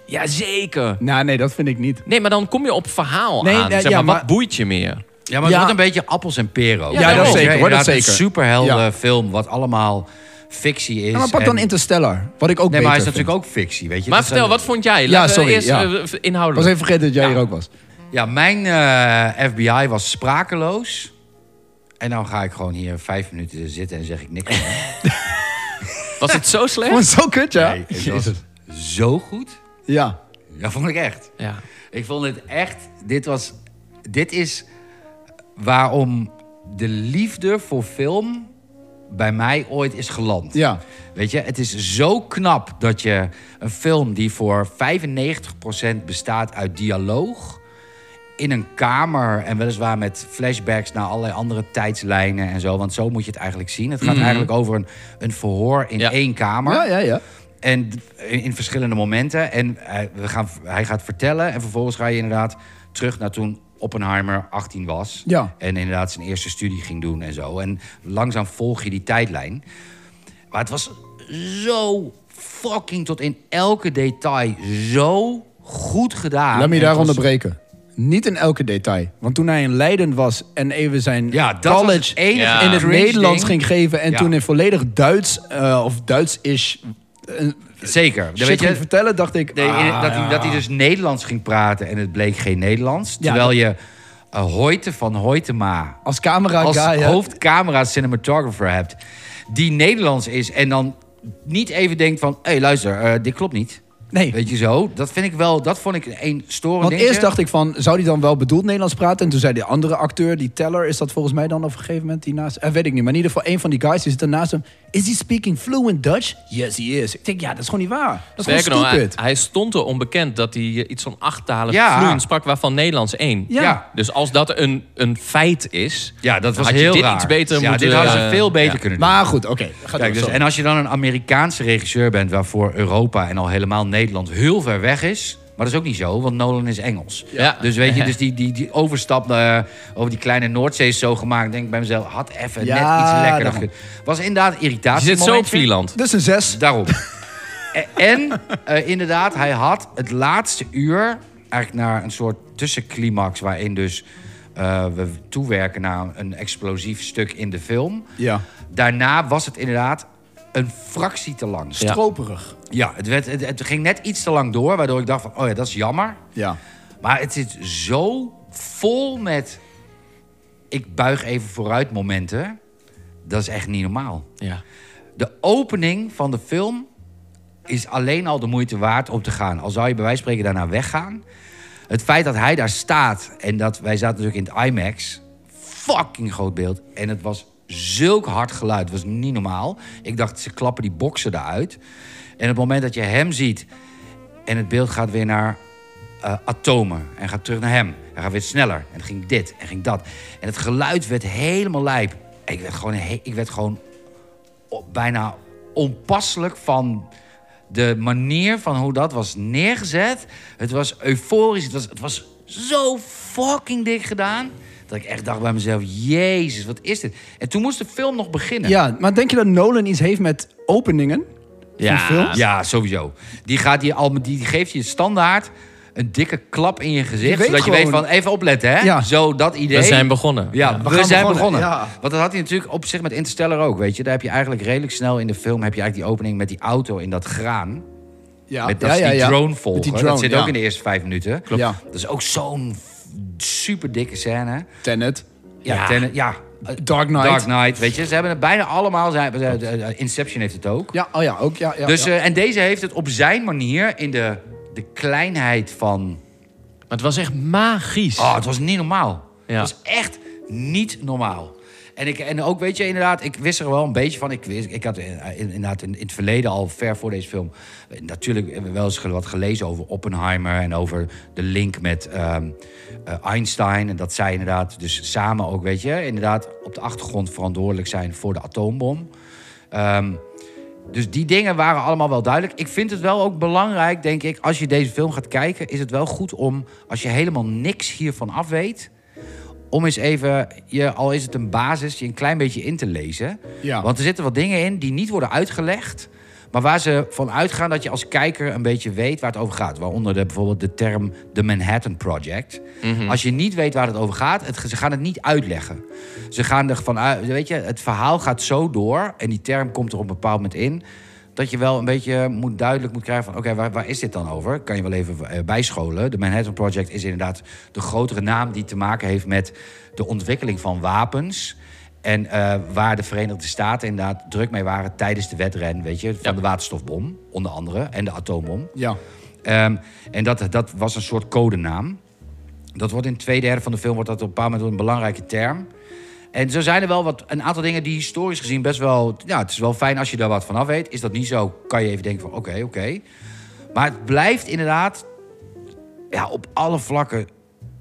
Speaker 3: Jazeker.
Speaker 5: Nou, nee, dat vind ik niet.
Speaker 3: Nee, maar dan kom je op verhaal
Speaker 5: Nee,
Speaker 3: aan.
Speaker 5: nee,
Speaker 3: zeg
Speaker 5: ja,
Speaker 3: maar,
Speaker 5: maar-
Speaker 3: wat boeit je meer?
Speaker 4: Ja, maar het
Speaker 5: Ja.
Speaker 4: wordt een beetje appels en peren. ook.
Speaker 3: Ja, dat
Speaker 4: is
Speaker 3: zeker,
Speaker 5: hoor, dat
Speaker 4: inderdaad
Speaker 5: zeker.
Speaker 4: Een superhelden
Speaker 5: Ja.
Speaker 4: film, wat allemaal fictie is.
Speaker 5: Ja, maar pak dan
Speaker 4: en-
Speaker 5: Interstellar, wat ik ook
Speaker 4: Nee,
Speaker 5: beter
Speaker 4: maar hij is
Speaker 5: vind.
Speaker 4: natuurlijk ook fictie, weet je.
Speaker 3: Maar
Speaker 4: Dat
Speaker 3: vertel,
Speaker 4: zijn-
Speaker 3: wat vond jij?
Speaker 5: Ja,
Speaker 3: Laten we
Speaker 5: sorry,
Speaker 3: eerst
Speaker 5: ja.
Speaker 3: eh, v-
Speaker 5: Ik was
Speaker 3: inhoudelijk.
Speaker 5: even vergeten dat jij hier ook was.
Speaker 4: Ja, mijn eh, FBI was sprakeloos. En nou ga ik gewoon hier vijf minuten zitten en zeg ik niks meer.
Speaker 3: Was het zo
Speaker 5: Oh,
Speaker 3: slecht?
Speaker 5: zo kut, ja?
Speaker 4: Nee, het was zo goed.
Speaker 5: Ja.
Speaker 4: Dat vond ik echt.
Speaker 3: Ja.
Speaker 4: Ik vond het echt. Dit was. Dit is waarom de liefde voor film bij mij ooit is geland.
Speaker 5: Ja.
Speaker 4: Weet je, het is zo knap dat je een film die voor 95% bestaat uit dialoog. In een kamer en weliswaar met flashbacks naar allerlei andere tijdslijnen en zo. Want zo moet je het eigenlijk zien. Het gaat eigenlijk over een, een verhoor in
Speaker 3: Ja.
Speaker 4: één kamer.
Speaker 5: Mhm. Ja, ja, ja.
Speaker 4: En d- in in verschillende momenten. En hij, we gaan, hij gaat vertellen. En vervolgens ga je inderdaad terug naar toen Oppenheimer 18 was.
Speaker 5: Ja.
Speaker 4: En inderdaad zijn eerste studie ging doen en zo. En langzaam volg je die tijdlijn. Maar het was zo fucking tot in elke detail zo goed gedaan.
Speaker 5: Laat me je
Speaker 4: En
Speaker 5: daar
Speaker 4: het was-
Speaker 5: onderbreken. Niet in elke detail. Want toen hij in Leiden was en even zijn
Speaker 4: Ja, dat was
Speaker 5: college
Speaker 4: het enige
Speaker 3: Ja.
Speaker 5: in het
Speaker 4: cringe ding.
Speaker 5: Nederlands ging geven... en
Speaker 4: Ja.
Speaker 5: toen in volledig Duits, eh, of Duits-ish,
Speaker 4: Zeker. Dan
Speaker 5: shit
Speaker 4: weet
Speaker 5: ging
Speaker 4: je,
Speaker 5: vertellen, dacht ik...
Speaker 4: Nee,
Speaker 5: ah,
Speaker 4: dat, hij, dat hij dus Nederlands ging praten en het bleek geen Nederlands.
Speaker 5: Ja,
Speaker 4: Terwijl
Speaker 5: dat-
Speaker 4: je eh, Hoyte van Hoytema
Speaker 5: als camera
Speaker 4: als
Speaker 5: guy, hè.
Speaker 4: hoofdcamera cinematographer hebt... die Nederlands is en dan niet even denkt van... hé, hey, luister, eh, dit klopt niet.
Speaker 5: Nee.
Speaker 4: Weet je zo? Dat vind ik wel... Dat vond ik een storend
Speaker 5: Want
Speaker 4: dingetje.
Speaker 5: eerst dacht ik van, zou die dan wel bedoeld Nederlands praten? En toen zei die andere acteur, die teller, is dat volgens mij dan op een gegeven moment die naast... Eh, weet ik niet, maar in ieder geval een van die guys die zit ernaast hem. Is he speaking fluent Dutch? Yes, he is. Ik denk, ja, dat is gewoon niet waar. Dat is
Speaker 3: Sterker
Speaker 5: gewoon
Speaker 3: nog, hij,
Speaker 5: stupid.
Speaker 3: hij stond er onbekend dat hij eh, iets van acht talen
Speaker 4: Ja.
Speaker 3: vloeiend sprak, waarvan Nederlands één.
Speaker 5: Ja.
Speaker 4: ja.
Speaker 3: Dus als dat een, een feit is,
Speaker 4: Ja, dat was
Speaker 3: had je
Speaker 4: heel
Speaker 3: dit
Speaker 4: raar.
Speaker 3: iets beter
Speaker 4: ja,
Speaker 3: moeten,
Speaker 4: dit hadden
Speaker 3: eh,
Speaker 4: ze veel beter
Speaker 3: ja.
Speaker 4: kunnen doen.
Speaker 5: Maar goed, oké. Ga
Speaker 4: Kijk,
Speaker 5: door,
Speaker 4: dus,
Speaker 5: sorry.
Speaker 4: en als je dan een Amerikaanse regisseur bent... waarvoor Europa en al helemaal Nederland heel ver weg is... Maar dat is ook niet zo, want Nolan is Engels.
Speaker 3: Ja.
Speaker 4: Dus weet je, dus die, die, die overstap eh, over die kleine Noordzee is zo gemaakt. Ik Denk bij mezelf, had even
Speaker 5: Ja,
Speaker 4: net iets lekkerder.
Speaker 5: daarom.
Speaker 4: gekund. Was inderdaad
Speaker 3: Je
Speaker 4: irritatie.
Speaker 3: zit zo op Vlieland.
Speaker 5: Dus een zes.
Speaker 4: Daarom. E- en eh, inderdaad, hij had het laatste uur eigenlijk naar een soort tussenclimax waarin dus eh, we toewerken naar een explosief stuk in de film.
Speaker 5: Ja.
Speaker 4: Daarna was het inderdaad een fractie te lang. Ja,
Speaker 5: Stroperig.
Speaker 4: het, werd, het, het ging net iets te lang door, waardoor ik dacht van, oh ja, dat is jammer.
Speaker 5: Ja.
Speaker 4: Maar het zit zo vol met ik buig even vooruit momenten. Dat is echt niet normaal.
Speaker 3: Ja.
Speaker 4: De opening van de film is alleen al de moeite waard om te gaan. Al zou je bij wijze van spreken daarna weggaan. Het feit dat hij daar staat en dat wij zaten natuurlijk in het IMAX. Fucking groot beeld. En het was zulk hard geluid. Het was niet normaal. Ik dacht, ze klappen die boksen eruit. En op het moment dat je hem ziet en het beeld gaat weer naar eh, atomen en gaat terug naar hem. En gaat weer sneller. En het ging dit en ging dat. En het geluid werd helemaal lijp. En Ik werd gewoon, he- ik werd gewoon op- bijna onpasselijk van de manier van hoe dat was neergezet. Het was euforisch. Het was, het was zo fucking dik gedaan. Dat ik echt dacht bij mezelf, jezus, wat is dit? En toen moest de film nog beginnen.
Speaker 5: Ja, maar denk je dat Nolan iets heeft met openingen?
Speaker 3: Ja.
Speaker 5: Van films?
Speaker 4: Ja, sowieso. Die, gaat die, al, die geeft je standaard een dikke klap in je gezicht.
Speaker 5: weet
Speaker 4: zodat je weet
Speaker 5: gewoon-
Speaker 4: van, even opletten, hè?
Speaker 5: Ja.
Speaker 4: Zo, dat idee.
Speaker 3: We zijn begonnen.
Speaker 4: Ja,
Speaker 3: Ja.
Speaker 4: we,
Speaker 5: gaan
Speaker 4: zijn
Speaker 5: begonnen,
Speaker 4: begonnen.
Speaker 5: ja.
Speaker 4: Want dat had hij natuurlijk op zich met Interstellar ook, weet je. Daar heb je eigenlijk redelijk snel in de film... heb je eigenlijk die opening met die auto in dat graan.
Speaker 5: Ja,
Speaker 4: Met dat is die drone volgen. dat zit ook in de eerste vijf minuten.
Speaker 5: Klopt. Ja.
Speaker 4: Dat is ook zo'n f- super dikke scène.
Speaker 5: Tenet.
Speaker 4: Ja,
Speaker 3: Ja.
Speaker 4: Tenet- ja.
Speaker 5: Dark Knight.
Speaker 4: Dark Knight, weet je. Ze hebben het bijna allemaal... ze hebben- ze- ze- Inception heeft het ook.
Speaker 5: Ja, oh ja, ook. Ja, ja,
Speaker 4: dus,
Speaker 5: ja.
Speaker 4: eh, en deze heeft het op zijn manier in de, de kleinheid van...
Speaker 3: Maar het was echt magisch.
Speaker 4: Oh, het was niet normaal.
Speaker 3: Ja.
Speaker 4: Het was echt niet normaal. En, ik, en ook, weet je, inderdaad, ik wist er wel een beetje van. Ik, wist, ik had in- in- inderdaad in, in het verleden al ver voor deze film... eh, natuurlijk wel eens ge- wat gelezen over Oppenheimer... en over de link met ehm, eh, Einstein. En dat zij inderdaad dus samen ook, weet je... inderdaad op de achtergrond verantwoordelijk zijn voor de atoombom. Ehm, dus die dingen waren allemaal wel duidelijk. Ik vind het wel ook belangrijk, denk ik, als je deze film gaat kijken, is het wel goed om, als je helemaal niks hiervan af weet, om eens even, je, al is het een basis, je een klein beetje in te lezen.
Speaker 5: Ja.
Speaker 4: Want er zitten wat dingen in die niet worden uitgelegd. Maar waar ze van uitgaan dat je als kijker een beetje weet waar het over gaat. Waaronder de, bijvoorbeeld de term de Manhattan Project. Als je niet weet waar het over gaat, het, ze gaan het niet uitleggen. Ze gaan er vanuit, weet je, het verhaal gaat zo door en die term komt er op een bepaald moment in. Dat je wel een beetje moet duidelijk moet krijgen van oké, waar, waar is dit dan over? Kan je wel even eh, bijscholen. De Manhattan Project is inderdaad de grotere naam die te maken heeft met de ontwikkeling van wapens. En eh, waar de Verenigde Staten inderdaad druk mee waren tijdens de wedren, weet je, van de waterstofbom, onder andere, en de atoombom.
Speaker 5: ja.
Speaker 4: Ehm, en dat, dat was een soort codenaam. Dat wordt in het tweede derde van de film wordt dat op een bepaald moment een belangrijke term. En zo zijn er wel wat, een aantal dingen die historisch gezien best wel... Ja, het is wel fijn als je daar wat van af weet. Is dat niet zo, kan je even denken van oké, oké. Maar het blijft inderdaad ja, op alle vlakken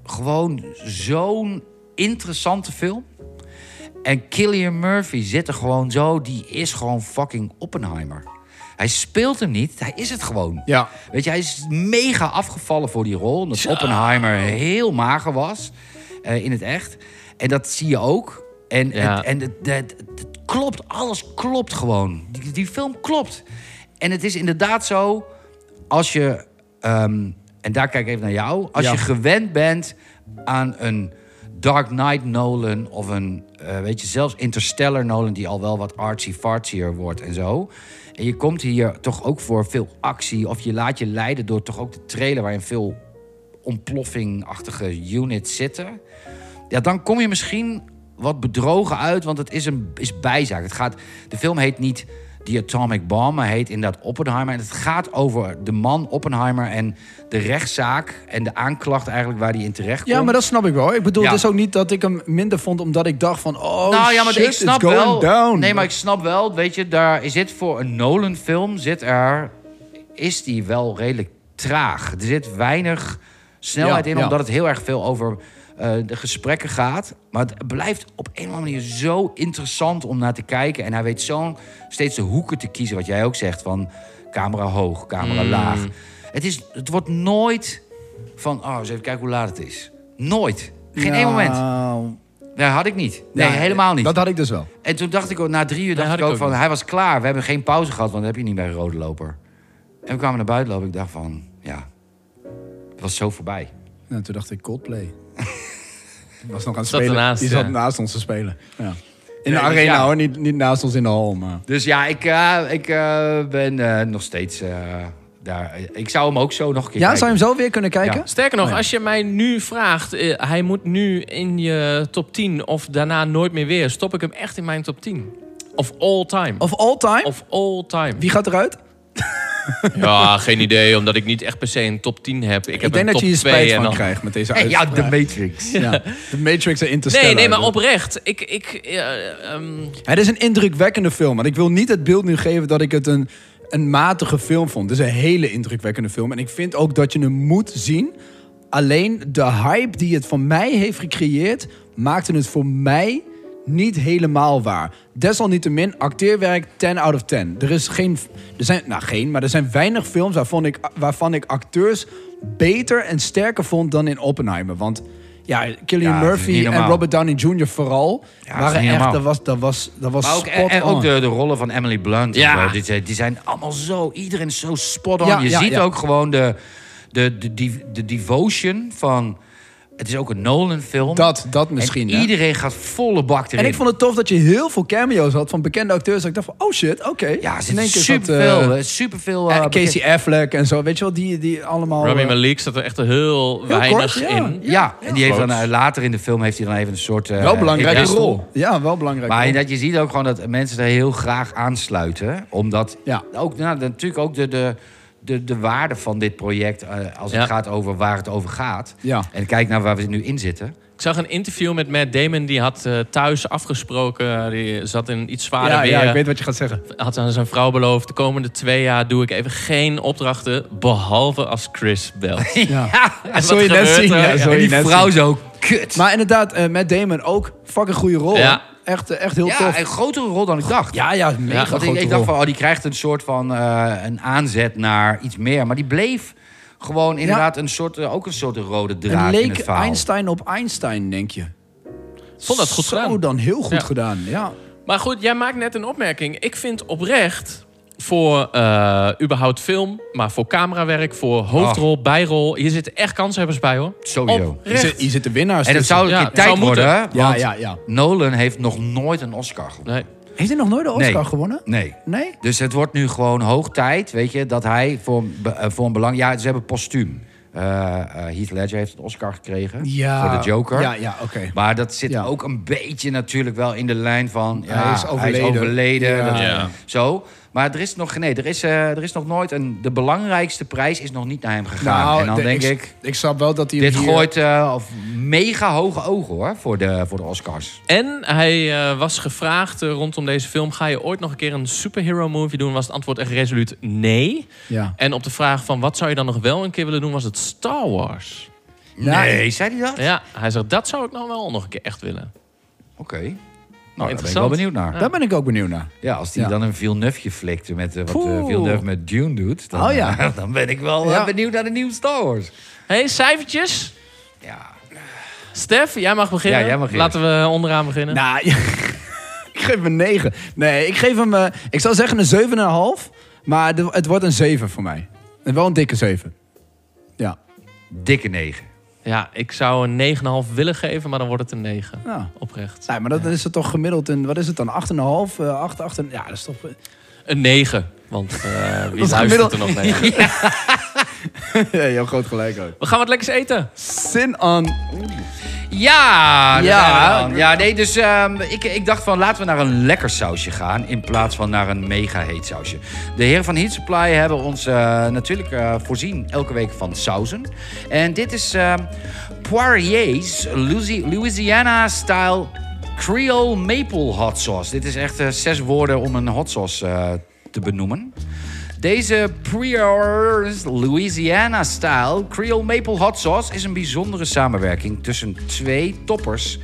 Speaker 4: gewoon zo'n interessante film. En Killian Murphy zit er gewoon zo. Die is gewoon fucking Oppenheimer. Hij speelt hem niet, hij is het gewoon.
Speaker 5: Ja.
Speaker 4: Weet je, hij is mega afgevallen voor die rol. Omdat Oppenheimer heel mager was eh, in het echt. En dat zie je ook. En,
Speaker 3: Ja.
Speaker 4: het, en het, het- het- het klopt, alles klopt gewoon. Die, die film klopt. En het is inderdaad zo, als je, ehm, en daar kijk ik even naar jou, als
Speaker 5: Ja.
Speaker 4: je gewend bent aan een Dark Knight Nolan of een, eh, weet je, zelfs Interstellar Nolan, die al wel wat artsy-fartsier wordt en zo. En je komt hier toch ook voor veel actie, of je laat je leiden door toch ook de trailer waarin veel ontploffingachtige units zitten. Ja, dan kom je misschien wat bedrogen uit, want het is een is bijzaak. Het gaat, de film heet niet The Atomic Bomb, maar heet inderdaad Oppenheimer. En het gaat over de man Oppenheimer en de rechtszaak en de aanklacht eigenlijk waar die in terecht komt.
Speaker 5: Ja, maar dat snap ik wel. Ik bedoel,
Speaker 4: Ja.
Speaker 5: het is ook niet dat ik hem minder vond omdat ik dacht van... Oh,
Speaker 4: nou ja, maar
Speaker 5: shit,
Speaker 4: ik snap
Speaker 5: it's going
Speaker 4: wel.
Speaker 5: down.
Speaker 4: Nee, maar ik snap wel. Weet je, daar zit voor een Nolan-film zit er, is die wel redelijk traag. Er zit weinig snelheid
Speaker 5: Ja,
Speaker 4: in,
Speaker 5: ja.
Speaker 4: omdat het heel erg veel over eh, de gesprekken gaat. Maar het blijft op een of andere manier zo interessant om naar te kijken. En hij weet
Speaker 5: Hmm.
Speaker 4: zo steeds de hoeken te kiezen, wat jij ook zegt van camera hoog, camera laag. Het, is, het wordt nooit van, oh, eens even kijken hoe laat het is. Nooit. Geen één
Speaker 5: Nou,
Speaker 4: moment. Dat had ik niet. Nee,
Speaker 5: ja,
Speaker 4: helemaal niet.
Speaker 5: Dat had ik dus wel.
Speaker 4: En toen dacht ik, ook- na drie uur dacht
Speaker 3: had
Speaker 4: ik
Speaker 3: ik
Speaker 4: ook
Speaker 3: ook
Speaker 4: van,
Speaker 3: niet.
Speaker 4: hij was klaar. We hebben geen pauze gehad, want dat heb je niet bij een rode loper. En we kwamen naar buiten lopen. Ik dacht van, ja, het was zo voorbij.
Speaker 5: En Nou, toen dacht ik Coldplay. Die was nog aan het
Speaker 3: Zat
Speaker 5: spelen.
Speaker 3: ernaast,
Speaker 5: die zat
Speaker 3: ja.
Speaker 5: naast ons te spelen. Ja. In
Speaker 4: Nee,
Speaker 5: de
Speaker 4: dus
Speaker 5: arena
Speaker 4: ja.
Speaker 5: hoor, niet, niet naast ons in de hal. Maar...
Speaker 4: Dus ja, ik, eh, ik eh, ben eh, nog steeds eh, daar. Ik zou hem ook zo nog een keer
Speaker 5: Ja,
Speaker 4: kijken.
Speaker 5: zou je hem zo weer kunnen kijken?
Speaker 4: Ja.
Speaker 3: Sterker nog,
Speaker 5: Oh ja.
Speaker 3: als je mij nu vraagt, eh, hij moet nu in je top 10 of daarna nooit meer weer, stop ik hem echt in mijn top 10. Of all time.
Speaker 5: Of all time?
Speaker 3: Of all time.
Speaker 5: Wie gaat eruit?
Speaker 3: Ja, geen idee, omdat ik niet echt per se een top 10 heb. Ik, heb
Speaker 5: Ik denk
Speaker 3: een
Speaker 5: dat
Speaker 3: top
Speaker 5: je hier
Speaker 3: 2
Speaker 5: spijt
Speaker 3: en
Speaker 5: van
Speaker 3: dan-
Speaker 5: krijgt met deze
Speaker 4: Hey,
Speaker 5: uit.
Speaker 4: ja, de Matrix.
Speaker 5: Ja. De Matrix erin te
Speaker 3: Nee,
Speaker 5: stellen.
Speaker 3: nee, maar oprecht. Ik, ik, eh, ehm,
Speaker 5: Het is een indrukwekkende film. En ik wil niet het beeld nu geven dat ik het een, een matige film vond. Het is een hele indrukwekkende film. En ik vind ook dat je hem moet zien. Alleen de hype die het van mij heeft gecreëerd... maakte het voor mij niet helemaal waar. Desalniettemin, acteerwerk 10 out of 10. Er is geen... Er zijn, nou, geen, maar er zijn weinig films waarvan ik, waarvan ik acteurs beter en sterker vond dan in Oppenheimer. Want ja,
Speaker 4: Ja,
Speaker 5: Cillian
Speaker 4: dat is niet
Speaker 5: Murphy en
Speaker 4: normaal.
Speaker 5: Robert Downey Jr. vooral...
Speaker 4: is
Speaker 5: waren
Speaker 4: niet
Speaker 5: echt...
Speaker 4: normaal.
Speaker 5: Dat was, dat was, dat was
Speaker 4: Maar ook, en,
Speaker 5: spot
Speaker 4: en ook
Speaker 5: on.
Speaker 4: de, de rollen van Emily Blunt. en
Speaker 3: Ja.
Speaker 4: zo, die, zijn- die zijn allemaal zo, iedereen is zo spot on.
Speaker 5: Ja,
Speaker 4: je
Speaker 5: ja,
Speaker 4: ziet
Speaker 5: ja.
Speaker 4: ook gewoon de, de, de, de, de devotion van... Het is ook een Nolan-film.
Speaker 5: Dat- dat misschien,
Speaker 4: En
Speaker 5: hè?
Speaker 4: iedereen gaat volle bak erin.
Speaker 5: En ik vond het tof dat je heel veel cameo's had van bekende acteurs. Dat ik dacht van, oh shit, oké.
Speaker 4: ja, er
Speaker 5: In één
Speaker 4: zit
Speaker 5: keer zat,
Speaker 4: superveel,
Speaker 5: eh,
Speaker 4: eh, superveel...
Speaker 5: eh,
Speaker 4: eh, bekend-
Speaker 5: Casey Affleck en zo, weet je wel, die, die allemaal...
Speaker 3: Rami
Speaker 5: eh,
Speaker 3: Malik zat er echt heel,
Speaker 5: kort,
Speaker 3: weinig
Speaker 5: ja.
Speaker 3: in.
Speaker 4: Ja, en die heeft dan, eh, later in de film heeft hij dan even een soort... eh,
Speaker 5: wel belangrijke
Speaker 4: epistel.
Speaker 5: rol. Ja, wel belangrijke
Speaker 4: Maar
Speaker 5: rol.
Speaker 4: dat je ziet ook gewoon dat mensen er heel graag aansluiten. Omdat
Speaker 5: Ja.
Speaker 4: ook, nou, dan natuurlijk ook de, de, de, de waarde van dit project... eh, als
Speaker 3: Ja.
Speaker 4: het gaat over waar het over gaat.
Speaker 5: Ja.
Speaker 4: En kijk naar waar we nu in zitten.
Speaker 3: Ik zag een interview met Matt Damon, die had eh, thuis afgesproken. Die zat in iets zwaarder
Speaker 5: Ja, ja,
Speaker 3: weer.
Speaker 5: ik weet wat je gaat zeggen.
Speaker 3: had aan zijn vrouw beloofd... de komende twee jaar doe ik even geen opdrachten... behalve als Chris belt.
Speaker 5: Ja.
Speaker 3: en
Speaker 5: zul je net
Speaker 3: gebeurt
Speaker 5: zien,
Speaker 3: er?
Speaker 5: ja, zul
Speaker 4: en
Speaker 5: je
Speaker 4: die
Speaker 5: net
Speaker 4: vrouw
Speaker 5: zien.
Speaker 4: zo, kut.
Speaker 5: Maar inderdaad, met Matt Damon ook fucking goede rol.
Speaker 3: Ja.
Speaker 5: Echt, eh, echt heel
Speaker 4: ja,
Speaker 5: tof.
Speaker 4: een grotere rol dan ik dacht.
Speaker 5: Ja, ja, mega
Speaker 4: Want ik,
Speaker 5: grote
Speaker 4: ik dacht
Speaker 5: rol.
Speaker 4: van, oh, die krijgt een soort van eh, een aanzet naar iets meer. Maar die bleef gewoon inderdaad een soort, eh, ook een soort rode draad
Speaker 5: En
Speaker 4: in
Speaker 5: leek
Speaker 4: het verhaal.
Speaker 5: Einstein op Einstein, denk je.
Speaker 3: Vond dat goed
Speaker 5: Zo
Speaker 3: gedaan.
Speaker 5: dan heel goed
Speaker 3: Ja.
Speaker 5: gedaan, ja.
Speaker 3: Maar goed, jij maakt net een opmerking. Ik vind oprecht voor eh, überhaupt film... maar voor camerawerk, voor hoofdrol, bijrol... hier zitten echt kanshebbers bij, hoor.
Speaker 4: Sowieso.
Speaker 5: Hier
Speaker 3: Oprecht.
Speaker 5: zit- Hier zitten winnaars
Speaker 4: En dat
Speaker 5: tussen.
Speaker 4: zou een
Speaker 3: Ja,
Speaker 4: keer
Speaker 3: het
Speaker 4: tijd
Speaker 3: zou moeten.
Speaker 4: worden, want
Speaker 5: Ja, ja, ja.
Speaker 4: Nolan heeft nog nooit een Oscar gewonnen.
Speaker 3: Nee.
Speaker 5: Heeft hij nog nooit de Oscar
Speaker 4: Nee.
Speaker 5: gewonnen?
Speaker 4: Nee.
Speaker 5: Nee?
Speaker 4: Dus het wordt nu gewoon hoog tijd, weet je, dat hij voor, een be- eh, voor een belang... Ja, ze hebben postuum. Eh, eh, Heath Ledger heeft een Oscar gekregen
Speaker 5: Ja.
Speaker 4: voor de Joker.
Speaker 5: Ja, ja, oké.
Speaker 4: Maar dat zit
Speaker 5: Ja.
Speaker 4: ook een beetje natuurlijk wel in de lijn van... Ja,
Speaker 5: Hij is overleden.
Speaker 4: overleden,
Speaker 5: Ja.
Speaker 4: dat-
Speaker 3: Ja.
Speaker 4: Zo. Maar er is nog... Nee, er is, eh, er is nog nooit... Een, de belangrijkste prijs is nog niet naar hem gegaan. en dan
Speaker 5: Nou, de-
Speaker 4: denk
Speaker 5: s-
Speaker 4: ik...
Speaker 5: Ik snap wel dat hij hem
Speaker 4: Dit
Speaker 5: hier-
Speaker 4: gooit eh, of mega hoge ogen hoor, voor de, voor de Oscars.
Speaker 3: En hij eh, was gevraagd eh, rondom deze film... ga je ooit nog een keer een superhero movie doen? Was het antwoord echt resoluut nee.
Speaker 5: Ja.
Speaker 3: En op de vraag van wat zou je dan nog wel een keer willen doen... was het Star Wars.
Speaker 4: Nee, zei hij dat?
Speaker 3: Ja, hij zegt dat zou ik nou wel nog een keer echt willen.
Speaker 4: Oké. Nou, daar ben ik wel
Speaker 3: Interessant.
Speaker 4: benieuwd naar.
Speaker 5: Daar ben ik ook benieuwd naar.
Speaker 4: Ja, als die
Speaker 5: Ja.
Speaker 4: dan een Villeneuveje flikte met eh, wat
Speaker 3: Poeh.
Speaker 4: eh, Villeneuve met Dune doet... Dan,
Speaker 5: Oh ja.
Speaker 4: dan ben ik wel eh,
Speaker 5: Ja.
Speaker 4: benieuwd naar de nieuwe Star Wars.
Speaker 3: hey, cijfertjes.
Speaker 4: Ja.
Speaker 3: Stef, jij mag beginnen.
Speaker 4: Ja, jij mag eerst.
Speaker 3: Laten we onderaan beginnen.
Speaker 5: Nou, ik geef hem een 9. Nee, ik geef hem... eh, ik zou zeggen een 7,5. Maar de- het wordt een 7 voor mij. En Wel een dikke 7. Ja.
Speaker 4: Dikke negen.
Speaker 3: Ja, ik zou een 9,5 willen geven, maar dan wordt het een 9.
Speaker 5: ja.
Speaker 3: Oprecht.
Speaker 5: Nou, Nee, maar dat is het toch gemiddeld een... Wat is het dan? 8,5? eh, 8, 8... Ja, dat is toch...
Speaker 3: Een 9. Want eh wie
Speaker 5: is
Speaker 3: luistert
Speaker 5: gemiddeld.
Speaker 3: er nog mee?
Speaker 5: ja, je hebt groot gelijk ook.
Speaker 3: We gaan wat lekkers eten.
Speaker 5: Sin on...
Speaker 4: Ja,
Speaker 5: Ja.
Speaker 4: ja. ja nee, dus ehm, ik, ik dacht van laten we naar een lekker sausje gaan in plaats van naar een mega heet sausje. De heren van Heat Supply hebben ons eh, natuurlijk eh, voorzien elke week van sauzen. En dit is ehm Poirier's Louisi- Louisiana-style Creole Maple Hot Sauce. Dit is echt eh, zes woorden om een hot sauce eh, te benoemen. Deze Prior's Louisiana-style Creole Maple Hot Sauce is een bijzondere samenwerking tussen twee toppers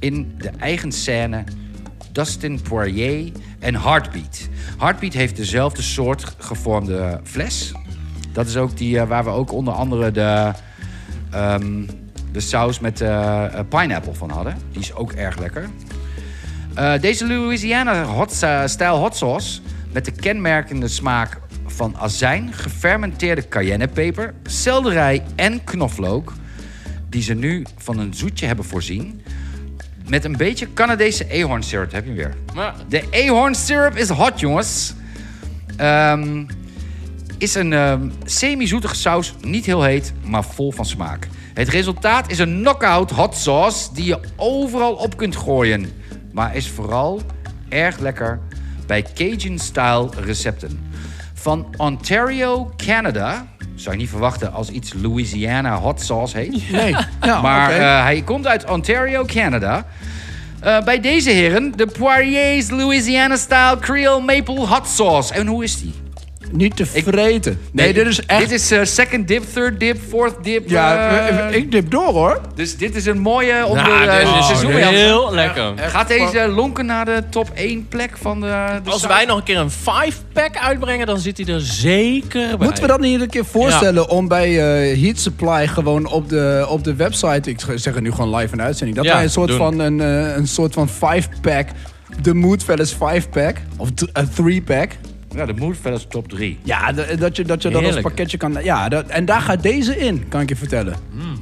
Speaker 4: in de eigen scène Dustin Poirier en Heartbeat. Heartbeat heeft dezelfde soort gevormde fles Dat is ook die eh, waar we ook onder andere de, ehm, de saus met eh, eh, pineapple van hadden. Die is ook erg lekker. Eh, deze Louisiana hot, eh, stijl hot sauce met de kenmerkende smaak van azijn, gefermenteerde cayennepeper, selderij en knoflook, die ze nu van een zoetje hebben voorzien, met een beetje Canadese eehornsirup heb je hem weer.
Speaker 3: Maar
Speaker 4: De eehornsirup is hot, jongens. Ehm, is een ehm, semi-zoetige saus, niet heel heet, maar vol van smaak. Het resultaat is een knockout hot sauce die je overal op kunt gooien. Maar is vooral erg lekker bij Cajun-style recepten. Van Ontario, Canada. Zou je niet verwachten als iets Louisiana hot sauce heet.
Speaker 5: Nee. Ja,
Speaker 4: Maar
Speaker 5: Ah, oké.
Speaker 4: eh, hij komt uit Ontario, Canada. Eh, bij deze heren, de Poirier's Louisiana-style Creole Maple Hot Sauce. En hoe is die? eh,
Speaker 5: niet te vreten. nee, dit is echt...
Speaker 4: Dit is eh, second dip, third dip, fourth dip.
Speaker 5: ja,
Speaker 4: eh,
Speaker 5: ik Nou, dip door hoor.
Speaker 4: Dus dit is een mooie om de
Speaker 3: dit
Speaker 4: eh,
Speaker 3: is
Speaker 4: seizoenhelft.
Speaker 3: heel lekker.
Speaker 4: Gaat deze lonken naar de top 1 plek van de... de
Speaker 3: Als
Speaker 4: site?
Speaker 3: wij nog een keer een 5-pack uitbrengen, dan zit hij er zeker bij.
Speaker 5: Moeten we dat niet een keer voorstellen om bij eh, Heat Supply gewoon op de, op de website, ik zeg het nu gewoon live in de uitzending, dat
Speaker 3: Ja,
Speaker 5: wij een soort
Speaker 3: doen.
Speaker 5: van een, eh, een soort van five pack, de Moodfellas five pack of d- een three pack.
Speaker 4: Ja, Nou, de moed verder top 3.
Speaker 5: Ja, d- dat je dat, je dat als
Speaker 3: Heerlijk.
Speaker 5: pakketje kan. Ja, dat, en daar gaat deze in, kan ik je vertellen.
Speaker 3: Mm.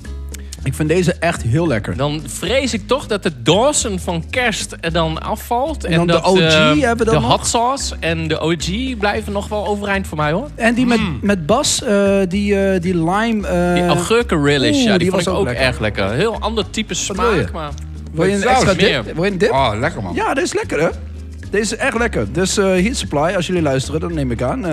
Speaker 5: Ik vind deze echt heel lekker.
Speaker 3: Dan vrees ik toch dat de Dawson van kerst er dan afvalt. En,
Speaker 5: dan de
Speaker 3: dat,
Speaker 5: OG
Speaker 3: eh,
Speaker 5: hebben we dan
Speaker 3: De
Speaker 5: nog?
Speaker 3: hot sauce en de OG blijven nog wel overeind voor mij hoor.
Speaker 5: En die met, met Bas, eh, die, eh, die lime. eh,
Speaker 3: Mm. Die augurken relish,
Speaker 5: oeh,
Speaker 3: ja, die,
Speaker 5: die
Speaker 3: vond ik
Speaker 5: was
Speaker 3: ook,
Speaker 5: ook lekker.
Speaker 3: erg lekker. Heel ander type
Speaker 5: wil je?
Speaker 3: smaak, maar...
Speaker 5: wil je een
Speaker 4: saus
Speaker 5: extra
Speaker 3: meer.
Speaker 5: dip? Wil je een dip?
Speaker 4: Oh, lekker man.
Speaker 5: Ja, dit is lekker hè. Deze is echt lekker. Dus eh, Heat Supply, als jullie luisteren, dat neem ik aan. Eh,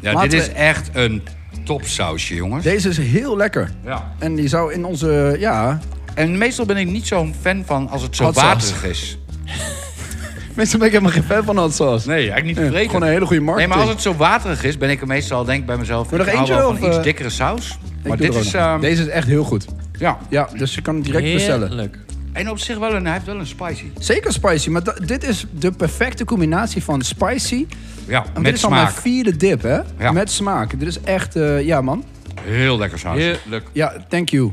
Speaker 4: Ja,
Speaker 5: laten
Speaker 4: dit is
Speaker 5: we-
Speaker 4: echt een topsausje, jongens.
Speaker 5: Deze is heel lekker.
Speaker 4: Ja.
Speaker 5: En die zou in onze, ja...
Speaker 4: En meestal ben ik niet zo'n fan van als het zo
Speaker 5: Hot sauce.
Speaker 4: waterig is.
Speaker 5: Meestal ben ik helemaal geen fan van hot sauce.
Speaker 4: Nee, eigenlijk niet
Speaker 5: Eh,
Speaker 4: vergeten.
Speaker 5: gewoon een hele goede
Speaker 4: Nee,
Speaker 5: marketing.
Speaker 4: maar als het zo waterig is, ben ik er meestal denk ik bij mezelf...
Speaker 5: Wil je
Speaker 4: ik
Speaker 5: nog
Speaker 4: hou
Speaker 5: eentje,
Speaker 4: wel van
Speaker 5: of,
Speaker 4: iets
Speaker 5: eh?
Speaker 4: dikkere saus.
Speaker 5: Ik
Speaker 4: Maar
Speaker 5: doe
Speaker 4: dit
Speaker 5: er ook
Speaker 4: is...
Speaker 5: nog.
Speaker 4: ehm,
Speaker 5: Deze is echt heel goed.
Speaker 4: Ja,
Speaker 5: Ja, dus je kan hem direct bestellen.
Speaker 3: Heerlijk.
Speaker 4: en op zich wel een... Hij heeft wel een spicy.
Speaker 5: Zeker spicy, maar da- dit is de perfecte combinatie van spicy...
Speaker 4: Ja,
Speaker 5: En dit
Speaker 4: met
Speaker 5: is al mijn
Speaker 4: smaak.
Speaker 5: vierde dip, hè?
Speaker 4: Ja.
Speaker 5: Met smaak. Dit is echt, eh, ja man.
Speaker 4: Heel lekker saus.
Speaker 3: Heerlijk.
Speaker 5: Ja, thank you.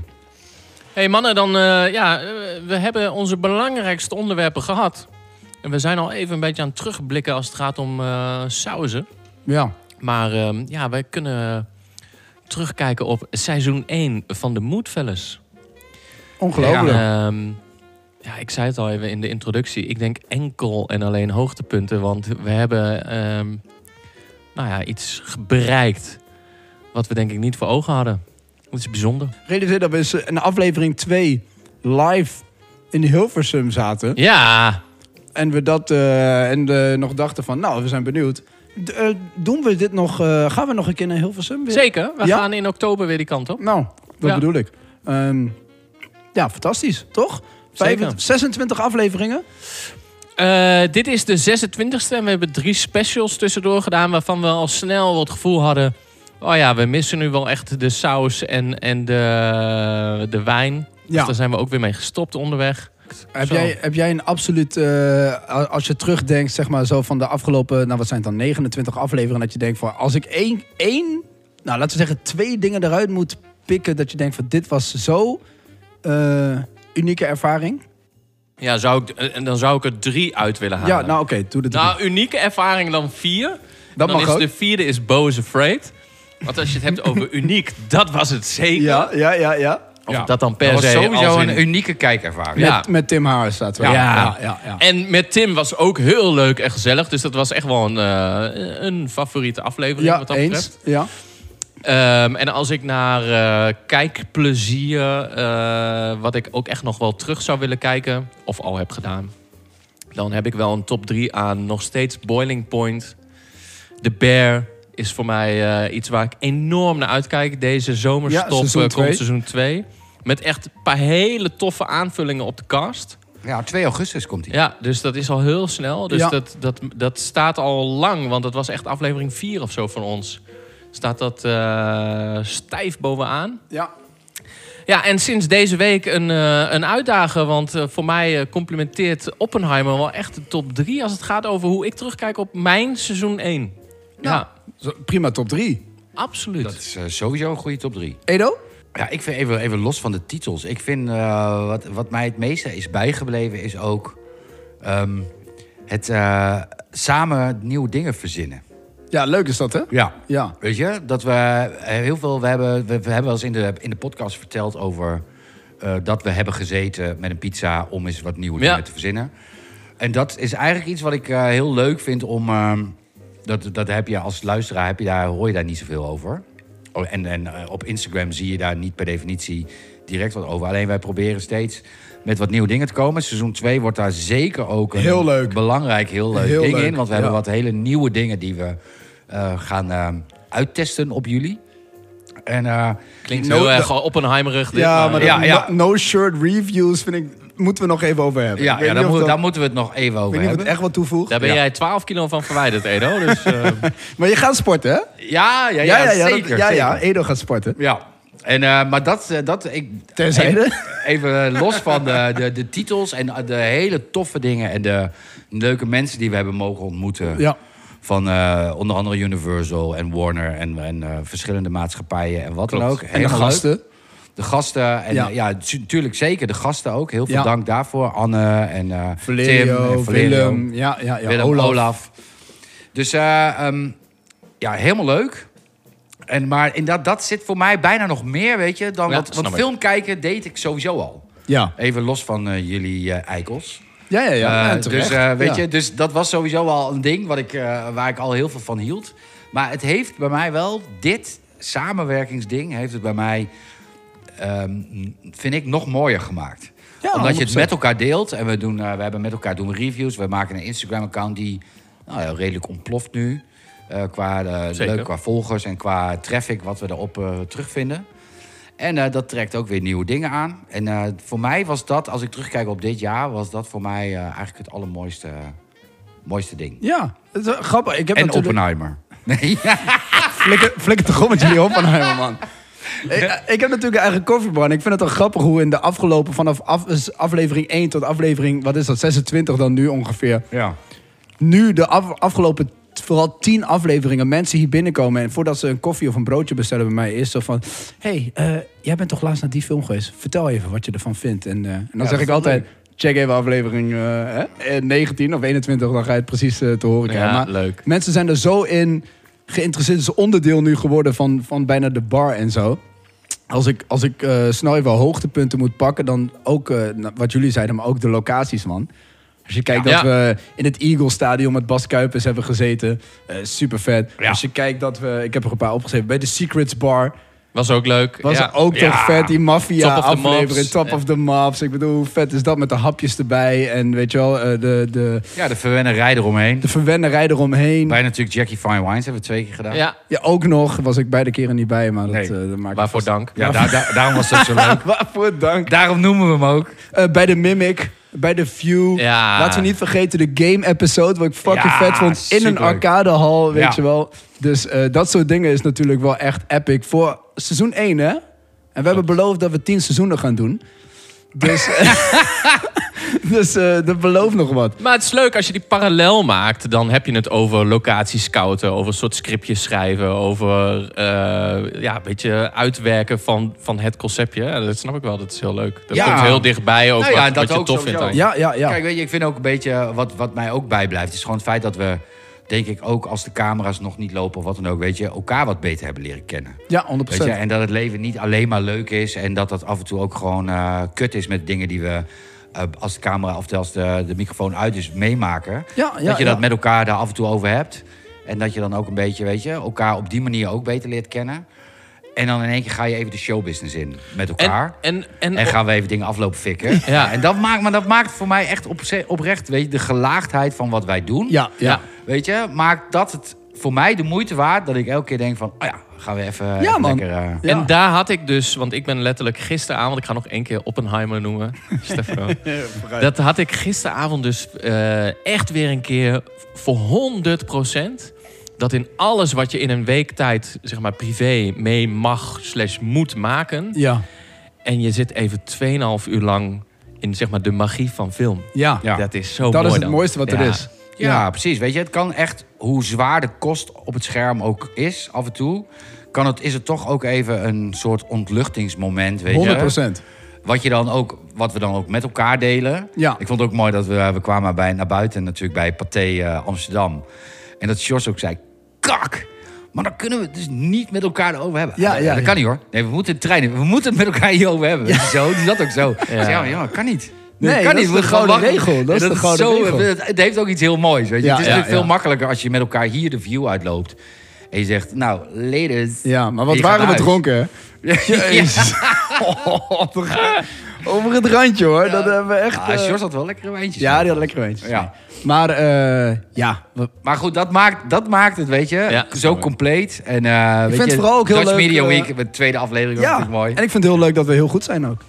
Speaker 3: hey, mannen, dan... eh, ja, eh, we hebben onze belangrijkste onderwerpen gehad. En we zijn al even een beetje aan het terugblikken als het gaat om eh sauzen.
Speaker 5: Ja.
Speaker 3: Maar ehm, ja, wij kunnen terugkijken op seizoen 1 van de Moodfellas.
Speaker 5: Ongelooflijk.
Speaker 3: Ehm, ja, ik zei het al even in de introductie. Ik denk enkel en alleen hoogtepunten. Want we hebben ehm, nou ja, iets ge- bereikt wat we denk ik niet voor ogen hadden. Dat is bijzonder.
Speaker 5: Realiseer dat we eens eh, in aflevering 2 live in Hilversum zaten.
Speaker 3: Ja,
Speaker 5: En we dat eh, en eh, nog dachten van, nou, we zijn benieuwd. D- eh, doen we dit nog, eh, gaan we nog een keer naar Hilversum? Weer?
Speaker 3: zeker. We
Speaker 5: Ja?
Speaker 3: gaan in oktober weer die kant op.
Speaker 5: Nou, dat
Speaker 3: Ja.
Speaker 5: bedoel ik. Ehm, ja, fantastisch, toch? Vijf-
Speaker 3: Zeker.
Speaker 5: 26 afleveringen.
Speaker 3: Eh, dit is de 26e en we hebben drie specials tussendoor gedaan... waarvan we al snel het gevoel hadden... oh ja, we missen nu wel echt de saus en, en de, de wijn. Dus
Speaker 5: Ja.
Speaker 3: daar zijn we ook weer mee gestopt onderweg.
Speaker 5: Heb
Speaker 3: Zo.
Speaker 5: jij, heb jij een absoluut, eh, a- als je terugdenkt, zeg maar zo van de afgelopen, nou wat zijn het dan, 29 afleveringen, dat je denkt van, als ik één, één, nou laten we zeggen twee dingen eruit moet pikken, dat je denkt van, dit was zo eh, unieke ervaring.
Speaker 3: Ja, zou ik, eh, en dan zou ik er drie uit willen halen.
Speaker 5: Ja, nou oké, doe de drie.
Speaker 3: Nou, unieke ervaring dan vier.
Speaker 5: dat
Speaker 3: dan
Speaker 5: mag
Speaker 3: is
Speaker 5: ook.
Speaker 3: de vierde is Bo's Afraid. Want als je het hebt over uniek, dat was het zeker.
Speaker 5: Ja, ja, ja, ja.
Speaker 3: Of dat dan per
Speaker 4: Dat was
Speaker 3: se
Speaker 4: sowieso
Speaker 3: als in-
Speaker 4: een unieke kijkervaring.
Speaker 5: Met,
Speaker 3: Ja.
Speaker 5: met Tim Harris staat wel.
Speaker 3: Ja.
Speaker 5: ja, ja. ja.
Speaker 3: En met Tim was ook heel leuk en gezellig. Dus dat was echt wel een, eh, een favoriete aflevering
Speaker 5: Ja,
Speaker 3: wat dat
Speaker 5: eens.
Speaker 3: betreft.
Speaker 5: Ja.
Speaker 3: Ehm, en als ik naar eh, kijkplezier, eh, wat ik ook echt nog wel terug zou willen kijken, of al heb gedaan, dan heb ik wel een top 3 aan nog steeds Boiling Point. The Bear is voor mij eh, iets waar ik enorm naar uitkijk. Deze zomerstop
Speaker 5: Ja, seizoen
Speaker 3: eh,
Speaker 5: twee.
Speaker 3: komt seizoen 2. Met echt een paar hele toffe aanvullingen op de cast.
Speaker 4: Ja, 2 augustus komt hij.
Speaker 3: Ja, dus dat is al heel snel. Dus
Speaker 5: Ja.
Speaker 3: dat, dat, dat staat al lang, want dat was echt aflevering 4 of zo van ons. Staat dat eh, stijf bovenaan.
Speaker 5: ja.
Speaker 3: Ja, en sinds deze week een, eh een uitdager. Want eh, voor mij eh, complimenteert Oppenheimer wel echt de top 3 als het gaat over hoe ik terugkijk op mijn seizoen 1. Ja,
Speaker 5: Zo, Prima top 3.
Speaker 3: Absoluut.
Speaker 4: Dat is eh, sowieso een goede top 3.
Speaker 5: Edo?
Speaker 4: Ja, ik vind even, even los van de titels. Ik vind eh, wat, wat mij het meeste is bijgebleven, is ook ehm, het eh, samen nieuwe dingen verzinnen.
Speaker 5: Ja, leuk is dat, hè?
Speaker 4: Ja.
Speaker 5: Ja.
Speaker 4: Weet je, dat we eh, heel veel. We hebben, we, we hebben wel eens in de, in de podcast verteld over. eh, dat we hebben gezeten met een pizza om eens wat nieuwe
Speaker 3: Ja.
Speaker 4: dingen te verzinnen. En dat is eigenlijk iets wat ik eh, heel leuk vind om. ehm, dat, dat heb je als luisteraar, heb je daar, hoor je daar niet zoveel over. Oh, En, en eh, op Instagram zie je daar niet per definitie direct wat over. Alleen wij proberen steeds met wat nieuwe dingen te komen. Seizoen 2 wordt daar zeker ook een
Speaker 1: Heel leuk.
Speaker 4: belangrijk, heel leuk
Speaker 1: Heel
Speaker 4: ding
Speaker 1: leuk,
Speaker 4: in. Want we hebben
Speaker 1: ja.
Speaker 4: wat hele nieuwe dingen die we eh, gaan eh, uittesten op jullie. En eh,
Speaker 3: Klinkt
Speaker 1: No-
Speaker 3: heel erg Oppenheimerig. dit,
Speaker 1: Ja, maar
Speaker 3: maar
Speaker 1: dat
Speaker 4: Ja, ja.
Speaker 1: No, no shirt reviews vind ik, moeten we nog even over hebben.
Speaker 4: ja,
Speaker 1: Ik weet
Speaker 4: ja
Speaker 1: niet
Speaker 4: daar,
Speaker 1: of
Speaker 4: moet-
Speaker 1: dat-
Speaker 4: daar moeten we het nog even
Speaker 1: Ik
Speaker 4: over
Speaker 1: weet niet of
Speaker 4: hebben.
Speaker 1: het echt wat toevoegt.
Speaker 3: daar ben
Speaker 4: Ja.
Speaker 3: jij 12 kilo van verwijderd, Edo. Dus, eh,
Speaker 1: Maar je gaat sporten, hè?
Speaker 4: Ja, ja, ja,
Speaker 1: ja, ja, dat-
Speaker 4: zeker.
Speaker 1: ja,
Speaker 4: zeker.
Speaker 1: ja, Edo gaat sporten.
Speaker 4: Ja. En, eh, maar dat, eh, dat ik,
Speaker 1: Terzijde.
Speaker 4: Even, even los van de, de, de titels en eh, de hele toffe dingen en de leuke mensen die we hebben mogen ontmoeten.
Speaker 5: Ja.
Speaker 4: Van eh, onder andere Universal en Warner en, en eh, verschillende maatschappijen en wat dan
Speaker 3: Klopt.
Speaker 4: ook.
Speaker 5: En de
Speaker 4: Helemaal leuk.
Speaker 5: gasten.
Speaker 4: De gasten. En
Speaker 5: Ja.
Speaker 4: ja, natuurlijk zeker. De gasten ook. Heel veel
Speaker 5: Ja.
Speaker 4: dank daarvoor. Anne en eh, Tim
Speaker 5: Valerio,
Speaker 4: en Valerio.
Speaker 5: Willem. Ja, ja, ja.
Speaker 4: Willem, Olaf.
Speaker 5: Olaf.
Speaker 4: Dus eh, ehm, ja, helemaal leuk. En, maar in dat, dat zit voor mij bijna nog meer, weet je. Dan
Speaker 3: Ja,
Speaker 4: wat,
Speaker 3: snap
Speaker 4: wat
Speaker 3: ik.
Speaker 4: film kijken deed ik sowieso al.
Speaker 5: Ja.
Speaker 4: Even los van eh, jullie eh, eikels.
Speaker 5: Ja, ja, ja.
Speaker 4: Eh,
Speaker 5: En
Speaker 4: dus,
Speaker 5: terecht.
Speaker 4: eh, weet
Speaker 5: Ja.
Speaker 4: je, dus dat was sowieso al een ding wat ik, eh, waar ik al heel veel van hield. Maar het heeft bij mij wel, dit samenwerkingsding heeft het bij mij, ehm, vind ik, nog mooer gemaakt.
Speaker 5: Ja,
Speaker 4: Omdat je het
Speaker 5: 100%.
Speaker 4: met elkaar deelt. En we, doen, eh, we hebben met elkaar doen we reviews. We maken een Instagram-account die nou, ja, redelijk ontploft nu. eh, qua, eh,
Speaker 3: Zeker.
Speaker 4: leuk, qua volgers en qua traffic wat we erop eh, terugvinden. En eh, dat trekt ook weer nieuwe dingen aan. En eh, voor mij was dat, als ik terugkijk op dit jaar, was dat voor mij eh, eigenlijk het allermooiste mooiste ding.
Speaker 5: Ja, het is, eh, grappig. Ik heb
Speaker 4: en
Speaker 5: natuurlijk...
Speaker 4: Oppenheimer. Nee, ja.
Speaker 5: Flikker, flikker toch om met jullie Oppenheimer, man. Ik, ik heb natuurlijk een eigen koffiebar. En ik vind het wel grappig hoe in de afgelopen... vanaf af- aflevering 1 tot aflevering... wat is dat, 26 dan nu ongeveer...
Speaker 4: ja.
Speaker 5: nu de af- afgelopen t- vooral tien afleveringen mensen hier binnenkomen en voordat ze een koffie of een broodje bestellen bij mij is zo van hey eh, jij bent toch laatst naar die film geweest vertel even wat je ervan vindt en, eh, en dan zeg
Speaker 4: dat
Speaker 5: ik
Speaker 4: is
Speaker 5: altijd check even aflevering eh, hè, eh, 19 of 21 dan ga je het precies eh, te horen krijgen maar
Speaker 3: leuk.
Speaker 5: mensen zijn er zo in geïnteresseerd het is onderdeel nu geworden van, van bijna de bar en zo als ik, als ik eh, snel even hoogtepunten moet pakken, dan ook eh, na- wat jullie zeiden, maar ook de locaties, man. Als je kijkt dat
Speaker 3: Ja.
Speaker 5: we in het Eagle Stadion met Bas Kuipers hebben gezeten. eh, super vet.
Speaker 4: Ja.
Speaker 5: Als je kijkt dat we, ik heb er een paar opgeschreven, bij de Secrets Bar.
Speaker 3: Was ook leuk.
Speaker 5: Was
Speaker 3: ja.
Speaker 5: er ook toch
Speaker 4: Ja.
Speaker 5: vet, die maffia
Speaker 3: Top of the
Speaker 5: aflevering,
Speaker 3: Mops.
Speaker 5: Top of the Maps. Ik bedoel, hoe vet is dat met de hapjes erbij en weet je wel, eh, de, de,
Speaker 4: ja, de verwennerij eromheen.
Speaker 5: de verwennerij eromheen.
Speaker 4: Wij natuurlijk Jackie Fine Wines hebben we twee keer gedaan.
Speaker 3: Ja,
Speaker 5: Ja, ook nog, was ik beide keren niet bij, maar dat,
Speaker 4: Nee.
Speaker 5: eh, dat maakt
Speaker 3: waarvoor dank.
Speaker 4: Ja, daar- daar- daarom was dat zo leuk.
Speaker 5: Waarvoor dank.
Speaker 4: Daarom noemen we hem ook.
Speaker 5: Eh, bij de Mimic, bij de View.
Speaker 3: Ja.
Speaker 5: Laten we niet vergeten de game-episode, wat ik fucking
Speaker 4: Ja,
Speaker 5: vet vond. In een
Speaker 4: superleuk.
Speaker 5: arcadehal, weet
Speaker 4: Ja.
Speaker 5: je wel. Dus eh, dat soort dingen is natuurlijk wel echt epic. Voor seizoen 1, hè? En we hebben beloofd dat we 10 seizoenen gaan doen. Dus, dus eh, dat belooft nog wat.
Speaker 3: Maar het is leuk als je die parallel maakt. Dan heb je het over locaties scouten, over een soort scriptjes schrijven, over eh, ja, een beetje uitwerken van, van het conceptje. Ja, dat snap ik wel, dat is heel leuk. Dat
Speaker 4: Ja.
Speaker 3: komt heel dichtbij ook
Speaker 4: Nou ja,
Speaker 3: wat,
Speaker 4: dat
Speaker 3: wat je
Speaker 4: ook
Speaker 3: tof
Speaker 4: sowieso.
Speaker 3: vindt. eigenlijk.
Speaker 5: Ja, ja, ja.
Speaker 4: Kijk, weet je, ik vind ook een beetje wat, wat mij ook bijblijft. Is gewoon het feit dat we, denk ik, ook als de camera's nog niet lopen of wat dan ook, weet je, elkaar wat beter hebben leren kennen.
Speaker 5: ja, 100%.
Speaker 4: Weet je, en dat het leven niet alleen maar leuk is. En dat dat af en toe ook gewoon eh, kut is met dingen die we. eh, als de camera of als de, de microfoon uit is, meemaken.
Speaker 5: Ja, ja,
Speaker 4: dat je dat
Speaker 5: ja.
Speaker 4: met elkaar daar af en toe over hebt. En dat je dan ook een beetje, weet je, elkaar op die manier ook beter leert kennen. En dan in één keer ga je even de showbusiness in met elkaar.
Speaker 3: En, en, en,
Speaker 4: En, gaan we even dingen aflopen fikken.
Speaker 3: Ja.
Speaker 4: En dat maakt, maar dat maakt voor mij echt op, oprecht, weet je, de gelaagdheid van wat wij doen.
Speaker 5: Ja, ja.
Speaker 3: Ja.
Speaker 4: Weet je, maakt dat het voor mij de moeite waard dat ik elke keer denk van, oh ja, gaan we even, even
Speaker 5: man.
Speaker 4: lekker... eh,
Speaker 5: Ja.
Speaker 3: En daar had ik dus, want ik ben letterlijk gisteravond, ik ga nog één keer Oppenheimer noemen, Stefano. dat had ik gisteravond dus eh, echt weer een keer voor 100 Dat in alles wat je in een week tijd, zeg maar privé, mee mag, slash moet maken.
Speaker 5: Ja,
Speaker 3: En je zit even 2,5 uur lang in, zeg maar, de magie van film.
Speaker 5: ja.
Speaker 4: Ja.
Speaker 3: Dat is zo mooi
Speaker 5: Dat is het
Speaker 3: dan.
Speaker 5: mooiste wat er
Speaker 3: Ja.
Speaker 5: is.
Speaker 4: Ja, precies. Weet je, het kan echt hoe zwaar de kost op het scherm ook is, af en toe, kan het, is het toch ook even een soort ontluchtingsmoment. Weet je?
Speaker 5: 100 procent.
Speaker 4: Wat, je dan ook, wat we dan ook met elkaar delen.
Speaker 5: Ja.
Speaker 4: Ik vond het ook mooi dat we, we kwamen bij, naar buiten natuurlijk bij Pathé eh, Amsterdam. En dat Sjors ook zei, kak! Maar dan kunnen we het dus niet met elkaar over hebben.
Speaker 5: Ja, ja,
Speaker 4: dat
Speaker 5: ja.
Speaker 4: kan niet hoor. Nee, we moeten trainen. We moeten het met elkaar hierover hebben. Zo, die zat ook zo. Ik zei, Ja, maar, ja, maar kan niet.
Speaker 5: Nee,
Speaker 4: kan
Speaker 5: dat
Speaker 4: niet.
Speaker 5: is
Speaker 4: We
Speaker 5: de
Speaker 4: gaan
Speaker 5: gouden
Speaker 4: wachten.
Speaker 5: regel. Dat is
Speaker 4: En
Speaker 5: de gouden
Speaker 4: zo-
Speaker 5: regel.
Speaker 4: het, het heeft ook iets heel moois. Weet je?
Speaker 5: Ja,
Speaker 4: het is
Speaker 5: ja,
Speaker 4: natuurlijk
Speaker 5: ja.
Speaker 4: veel makkelijker als je met elkaar hier de view uitloopt. En je zegt, nou, ladies.
Speaker 5: Ja, maar wat
Speaker 4: je
Speaker 5: waren
Speaker 4: gaat naar
Speaker 5: we
Speaker 4: huis. Oh,
Speaker 5: dronken? hè? Jezus. Over het randje hoor. Dat hebben we echt.
Speaker 4: Ah,
Speaker 5: eh,
Speaker 4: Sjors had wel lekkere wijntjes.
Speaker 5: ja, die had lekker eens.
Speaker 4: Ja.
Speaker 5: Maar eh, ja, we-
Speaker 4: Maar goed, dat maakt, dat maakt het, weet je,
Speaker 3: Ja.
Speaker 4: zo compleet. En eh weet
Speaker 5: vind
Speaker 4: je,
Speaker 5: het vooral ook heel
Speaker 4: Dutch
Speaker 5: leuk,
Speaker 4: Media
Speaker 5: eh,
Speaker 4: Week, de tweede aflevering, was
Speaker 5: ja.
Speaker 4: natuurlijk mooi.
Speaker 5: En ik vind het heel leuk dat we heel goed zijn ook.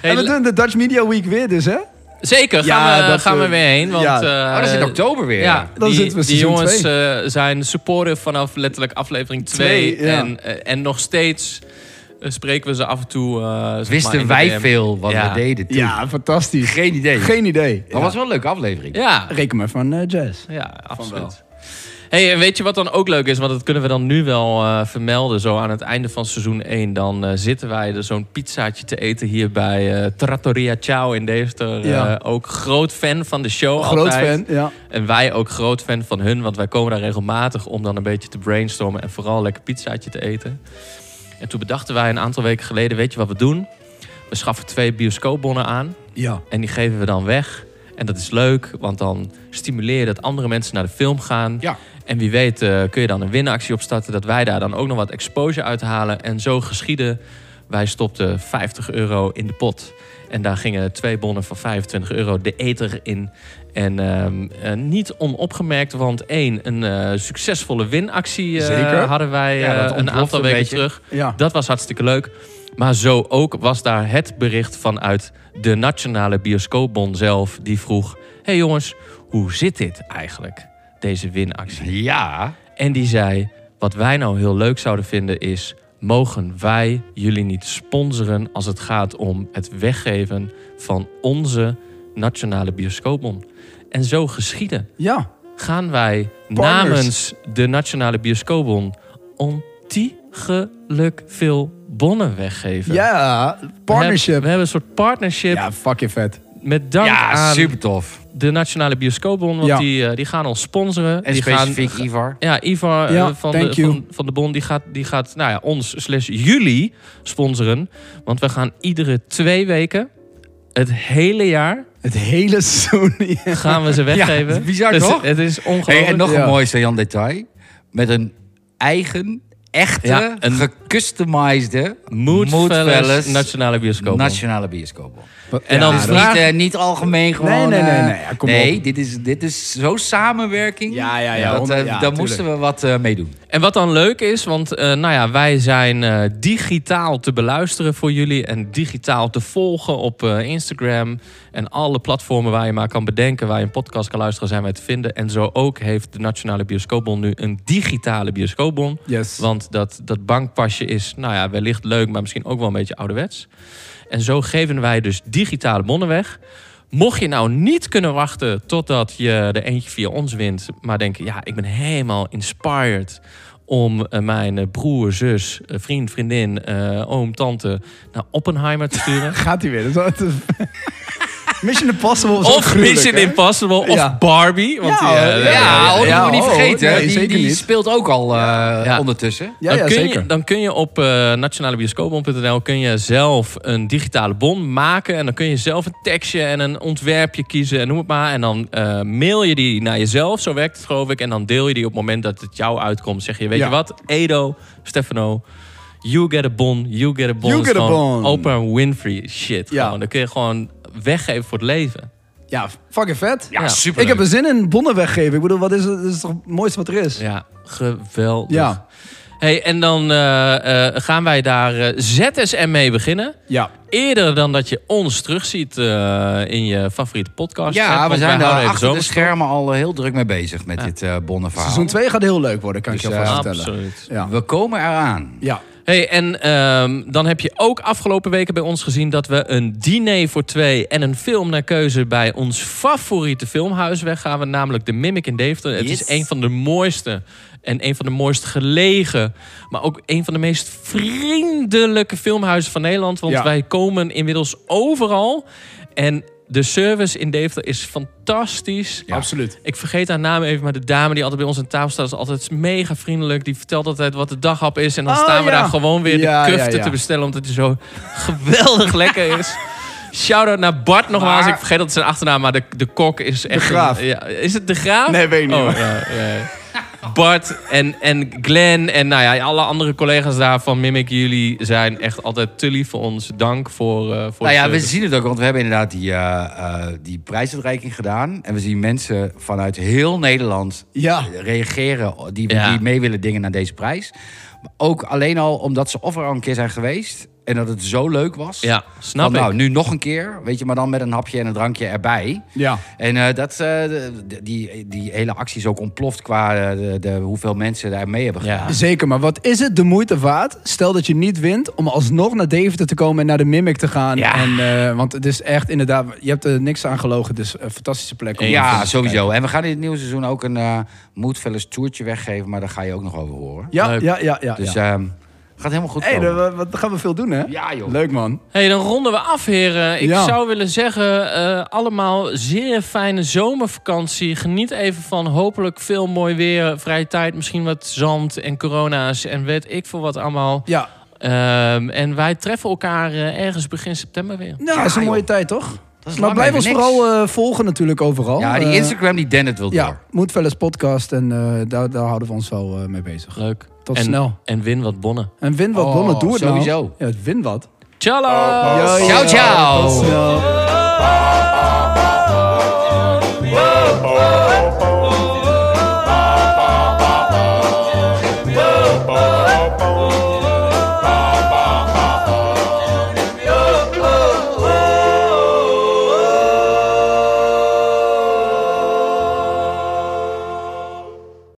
Speaker 3: Hey,
Speaker 5: en we
Speaker 3: le-
Speaker 5: doen de Dutch Media Week weer dus, hè?
Speaker 3: Zeker,
Speaker 5: Ja,
Speaker 3: gaan, we,
Speaker 5: dat,
Speaker 3: gaan we
Speaker 5: eh,
Speaker 3: weer heen. Want,
Speaker 5: ja.
Speaker 3: eh,
Speaker 4: oh, dat is in oktober weer.
Speaker 3: Ja,
Speaker 5: Dan
Speaker 3: die,
Speaker 5: zitten we
Speaker 3: die
Speaker 5: seizoen
Speaker 3: jongens
Speaker 5: twee.
Speaker 3: eh, zijn supporter vanaf letterlijk aflevering 2.
Speaker 5: Twee, ja.
Speaker 3: en, eh, en nog steeds eh, spreken we ze af en toe. eh, zeg maar
Speaker 4: Wisten
Speaker 3: in de
Speaker 4: wij
Speaker 3: DM.
Speaker 4: veel wat
Speaker 3: Ja.
Speaker 4: we deden toen?
Speaker 5: Ja, fantastisch.
Speaker 4: Geen idee.
Speaker 5: Geen idee.
Speaker 4: Maar was wel een leuke aflevering.
Speaker 3: Ja,
Speaker 5: Reken maar van eh, Jazz.
Speaker 3: ja absoluut. Hey, en weet je wat dan ook leuk is? Want dat kunnen we dan nu wel eh, vermelden. Zo aan het einde van seizoen 1. Dan eh, zitten wij er zo'n pizzaatje te eten hier bij eh, Trattoria Ciao in Deventer.
Speaker 5: Ja.
Speaker 3: Eh, ook groot fan van de show
Speaker 5: Groot
Speaker 3: altijd.
Speaker 5: fan, ja.
Speaker 3: En wij ook groot fan van hun, want wij komen daar regelmatig om dan een beetje te brainstormen en vooral lekker pizzaatje te eten. En toen bedachten wij een aantal weken geleden, weet je wat we doen? We schaffen twee bioscoopbonnen aan
Speaker 5: Ja.
Speaker 3: en die geven we dan weg. En dat is leuk, want dan stimuleer je dat andere mensen naar de film gaan.
Speaker 4: Ja.
Speaker 3: En wie weet eh, kun je dan een winactie opstarten... dat wij daar dan ook nog wat exposure uithalen. En zo geschieden. Wij stopten 50 euro in de pot. En daar gingen twee bonnen van 25 euro de eter in. En ehm, eh, niet onopgemerkt, want één, een eh, succesvolle winactie eh,
Speaker 5: Zeker.
Speaker 3: hadden wij
Speaker 4: Ja, dat
Speaker 3: eh, een
Speaker 4: ontplofte
Speaker 3: aantal
Speaker 4: een
Speaker 3: weken
Speaker 4: beetje.
Speaker 3: terug.
Speaker 5: Ja.
Speaker 3: Dat was hartstikke leuk. Maar zo ook was daar het bericht vanuit de Nationale Bioscoopbond zelf. Die vroeg, hey jongens, hoe zit dit eigenlijk, deze winactie?
Speaker 4: Ja.
Speaker 3: En die zei, wat wij nou heel leuk zouden vinden is... mogen wij jullie niet sponsoren als het gaat om het weggeven van onze Nationale Bioscoopbond? En zo geschieden
Speaker 5: Ja.
Speaker 3: gaan wij
Speaker 5: Partners.
Speaker 3: namens de Nationale Bioscoopbond ontiegelijk veel bonnen weggeven.
Speaker 5: Ja,
Speaker 3: We hebben,
Speaker 5: partnership.
Speaker 3: we hebben een soort partnership
Speaker 5: Ja, fucking vet.
Speaker 3: met dank
Speaker 4: Ja,
Speaker 3: aan
Speaker 4: super tof.
Speaker 3: de Nationale Bioscoopbond. Want
Speaker 5: Ja.
Speaker 3: die, eh, die gaan ons sponsoren.
Speaker 4: En
Speaker 3: die
Speaker 4: specifiek
Speaker 3: gaan,
Speaker 4: Ivar.
Speaker 3: ja, Ivar eh,
Speaker 5: Ja,
Speaker 3: van,
Speaker 5: thank
Speaker 3: de,
Speaker 5: you.
Speaker 3: van, van de Bond die gaat, die gaat nou ja, ons slash jullie sponsoren. Want we gaan iedere twee weken, het hele jaar,
Speaker 5: Het hele Sony.
Speaker 3: gaan we ze weggeven.
Speaker 4: het is bizar,
Speaker 3: Dus
Speaker 4: toch?
Speaker 3: Het is
Speaker 4: Hey,
Speaker 3: ongelooflijk.
Speaker 4: en nog
Speaker 5: Ja.
Speaker 4: een mooi Sajan detail. Met een eigen, echte,
Speaker 3: Ja, een-
Speaker 4: gecustomized
Speaker 3: Mood Fellas
Speaker 4: Fellas
Speaker 3: Nationale Bioscoop.
Speaker 4: Nationale bioscoop.
Speaker 3: En dan
Speaker 4: Dus
Speaker 3: vraag-
Speaker 4: niet, eh, niet algemeen gewoon.
Speaker 5: nee, nee,
Speaker 4: eh,
Speaker 5: nee, ja, kom
Speaker 4: nee,
Speaker 5: op.
Speaker 4: dit is, dit is zo samenwerking.
Speaker 5: Ja, ja, ja,
Speaker 4: Dat, eh,
Speaker 5: honderd- ja,
Speaker 4: daar
Speaker 5: tuurlijk.
Speaker 4: moesten we wat eh, mee doen.
Speaker 3: En wat dan leuk is, want eh, nou ja, wij zijn eh, digitaal te beluisteren voor jullie en digitaal te volgen op eh, Instagram en alle platformen waar je maar kan bedenken, waar je een podcast kan luisteren, zijn wij te vinden. En zo ook heeft de Nationale Bioscoopbon nu een digitale bioscoopbon.
Speaker 5: Yes.
Speaker 3: Want dat, dat bankpasje is, nou ja, wellicht leuk, maar misschien ook wel een beetje ouderwets. En zo geven wij dus digitale bonnen weg. Mocht je nou niet kunnen wachten totdat je er eentje via ons wint, maar denken, ja, ik ben helemaal inspired om eh, mijn eh, broer, zus, eh, vriend, vriendin, eh, oom, tante naar Oppenheimer te sturen.
Speaker 5: Gaat hij weer. Dat is Mission Impossible was ook
Speaker 3: of
Speaker 5: gruwelijk,
Speaker 3: Mission
Speaker 5: hè?
Speaker 3: Impossible, of
Speaker 5: Ja.
Speaker 3: Barbie. Want
Speaker 5: Ja,
Speaker 3: die, eh,
Speaker 5: Ja,
Speaker 4: Ja,
Speaker 5: ja,
Speaker 4: oh, dat
Speaker 5: ja,
Speaker 4: moet je niet
Speaker 5: oh,
Speaker 4: vergeten.
Speaker 5: nee,
Speaker 4: hè. die,
Speaker 5: zeker
Speaker 4: die
Speaker 5: niet.
Speaker 4: speelt ook al eh,
Speaker 3: Ja.
Speaker 4: ondertussen.
Speaker 5: Ja, ja,
Speaker 3: dan, kun
Speaker 5: zeker.
Speaker 3: Je, dan kun je op eh nationalebioscoopbon.nl kun je zelf een digitale bon maken. En dan kun je zelf een tekstje en een ontwerpje kiezen en noem het maar. En dan eh, mail je die naar jezelf, zo werkt het geloof ik. En dan deel je die op het moment dat het jou uitkomt. Zeg je, weet
Speaker 5: Ja.
Speaker 3: je wat, Edo, Stefano... You get a bon, you get a bon.
Speaker 5: You
Speaker 3: is
Speaker 5: get a
Speaker 3: gewoon
Speaker 5: bon.
Speaker 3: Oprah Winfrey shit.
Speaker 5: Ja.
Speaker 3: Gewoon. Dan kun je gewoon weggeven voor het leven.
Speaker 5: Ja, fucking vet.
Speaker 4: Ja,
Speaker 3: Ja.
Speaker 4: super.
Speaker 5: Ik heb er zin in bonnen weggeven. Ik bedoel, wat is het? Dat is toch het mooiste wat er is?
Speaker 3: Ja, geweldig.
Speaker 5: Ja.
Speaker 3: Hey, en dan eh, eh, gaan wij daar eh, ZSM mee beginnen.
Speaker 5: Ja.
Speaker 3: Eerder dan dat je ons terugziet eh, in je favoriete podcast. app,
Speaker 4: ja,
Speaker 3: want
Speaker 4: we
Speaker 3: wij
Speaker 4: zijn
Speaker 3: houden
Speaker 4: daar
Speaker 3: even
Speaker 4: achter de
Speaker 3: zomerstop.
Speaker 4: schermen al eh, heel druk mee bezig met dit eh bonnenverhaal.
Speaker 5: Seizoen 2 gaat heel leuk worden, kan ik
Speaker 4: Dus,
Speaker 5: je alvast
Speaker 4: eh,
Speaker 5: vertellen.
Speaker 3: Absoluut.
Speaker 5: Ja.
Speaker 4: We komen eraan.
Speaker 5: ja.
Speaker 3: Hey, en ehm, dan heb je ook afgelopen weken bij ons gezien dat we een diner voor twee en een film naar keuze bij ons favoriete filmhuis weggaven, namelijk de Mimic in Deventer. Het
Speaker 4: Yes.
Speaker 3: is een van de mooiste en een van de mooist gelegen, maar ook een van de meest vriendelijke filmhuizen van Nederland, want
Speaker 1: Ja.
Speaker 3: wij komen inmiddels overal en de service in Deventer is fantastisch.
Speaker 1: Absoluut.
Speaker 3: Ik vergeet haar naam even, maar de dame die altijd bij ons aan tafel staat... is altijd mega vriendelijk. Die vertelt altijd wat de daghap is. En dan
Speaker 1: Oh,
Speaker 3: staan we
Speaker 1: ja.
Speaker 3: daar gewoon weer
Speaker 1: Ja,
Speaker 3: de
Speaker 1: ja,
Speaker 3: kuften
Speaker 1: ja.
Speaker 3: te bestellen... omdat die zo geweldig lekker is. Shout-out naar Bart nogmaals. Ik vergeet dat zijn achternaam, maar de, de kok is echt... een-
Speaker 1: Graaf.
Speaker 3: ja, is het De Graaf?
Speaker 1: Nee, weet ik niet,
Speaker 3: Oh,
Speaker 1: maar-
Speaker 3: ja, ja. Bart en, en Glenn en nou ja, alle andere collega's daar van Mimic... jullie zijn echt altijd te lief voor ons. Dank voor, eh voor
Speaker 4: Nou
Speaker 3: de
Speaker 4: ja, we
Speaker 3: service.
Speaker 4: zien het ook, want we hebben inderdaad die, eh, eh, die prijsuitreiking gedaan. En we zien mensen vanuit heel Nederland
Speaker 5: Ja.
Speaker 4: reageren die,
Speaker 3: Ja.
Speaker 4: die mee willen dingen naar deze prijs. Maar ook alleen al omdat ze of er al een keer zijn geweest en dat het zo leuk was.
Speaker 3: Ja, snap
Speaker 4: Van, Nou,
Speaker 3: ik.
Speaker 4: nu nog een keer, weet je, maar dan met een hapje en een drankje erbij.
Speaker 1: Ja.
Speaker 4: En eh, dat, eh, de- de- die, die hele actie is ook ontploft qua eh, de, de- hoeveel mensen daar mee hebben
Speaker 3: Ja.
Speaker 4: gedaan.
Speaker 5: Zeker, maar wat is het de moeite waard? Stel dat je niet wint om alsnog naar Deventer te komen en naar de Mimic te gaan.
Speaker 4: Ja.
Speaker 5: En, eh, want het is echt inderdaad, je hebt er niks aan gelogen. Dus een fantastische plek. Om naar
Speaker 4: Ja,
Speaker 5: te kijken.
Speaker 4: sowieso. En we gaan in het nieuwe seizoen ook een eh Moodfellas toertje weggeven, maar daar ga je ook nog over horen.
Speaker 5: Ja,
Speaker 3: Leuk.
Speaker 5: ja, ja, ja.
Speaker 4: Dus
Speaker 5: ja.
Speaker 4: ehm, gaat helemaal goed
Speaker 5: hey,
Speaker 4: komen.
Speaker 5: dan, eh, wat gaan we veel doen, hè?
Speaker 4: Ja, joh.
Speaker 5: Leuk, man.
Speaker 3: Hey, dan ronden we af, heren. Ik
Speaker 5: Ja.
Speaker 3: zou willen zeggen, eh, allemaal zeer fijne zomervakantie. Geniet even van hopelijk veel mooi weer, vrije tijd, misschien wat zand en corona's en weet ik veel wat allemaal.
Speaker 5: Ja,
Speaker 3: Ehm, en wij treffen elkaar eh, ergens begin september weer.
Speaker 5: nou,
Speaker 4: Ja,
Speaker 5: dat is een
Speaker 4: joh.
Speaker 5: mooie tijd, toch?
Speaker 4: Dat is
Speaker 5: Maar
Speaker 4: lang
Speaker 5: blijf
Speaker 4: even
Speaker 5: ons
Speaker 4: niks.
Speaker 5: vooral eh, volgen natuurlijk overal.
Speaker 4: Ja, die
Speaker 5: Eh,
Speaker 4: Instagram die Dennet wil door.
Speaker 5: ja, moet wel eens podcast en eh, daar, daar houden we ons wel eh, mee bezig.
Speaker 3: Leuk.
Speaker 5: Tot
Speaker 3: en,
Speaker 5: snel.
Speaker 3: En win wat bonnen.
Speaker 5: En win wat,
Speaker 4: Oh,
Speaker 5: Bonnet, doe het nou.
Speaker 4: sowieso.
Speaker 5: Ja, win wat.
Speaker 3: Ciao!
Speaker 2: Ciao,
Speaker 4: Ciao, ciao.
Speaker 5: Tot snel.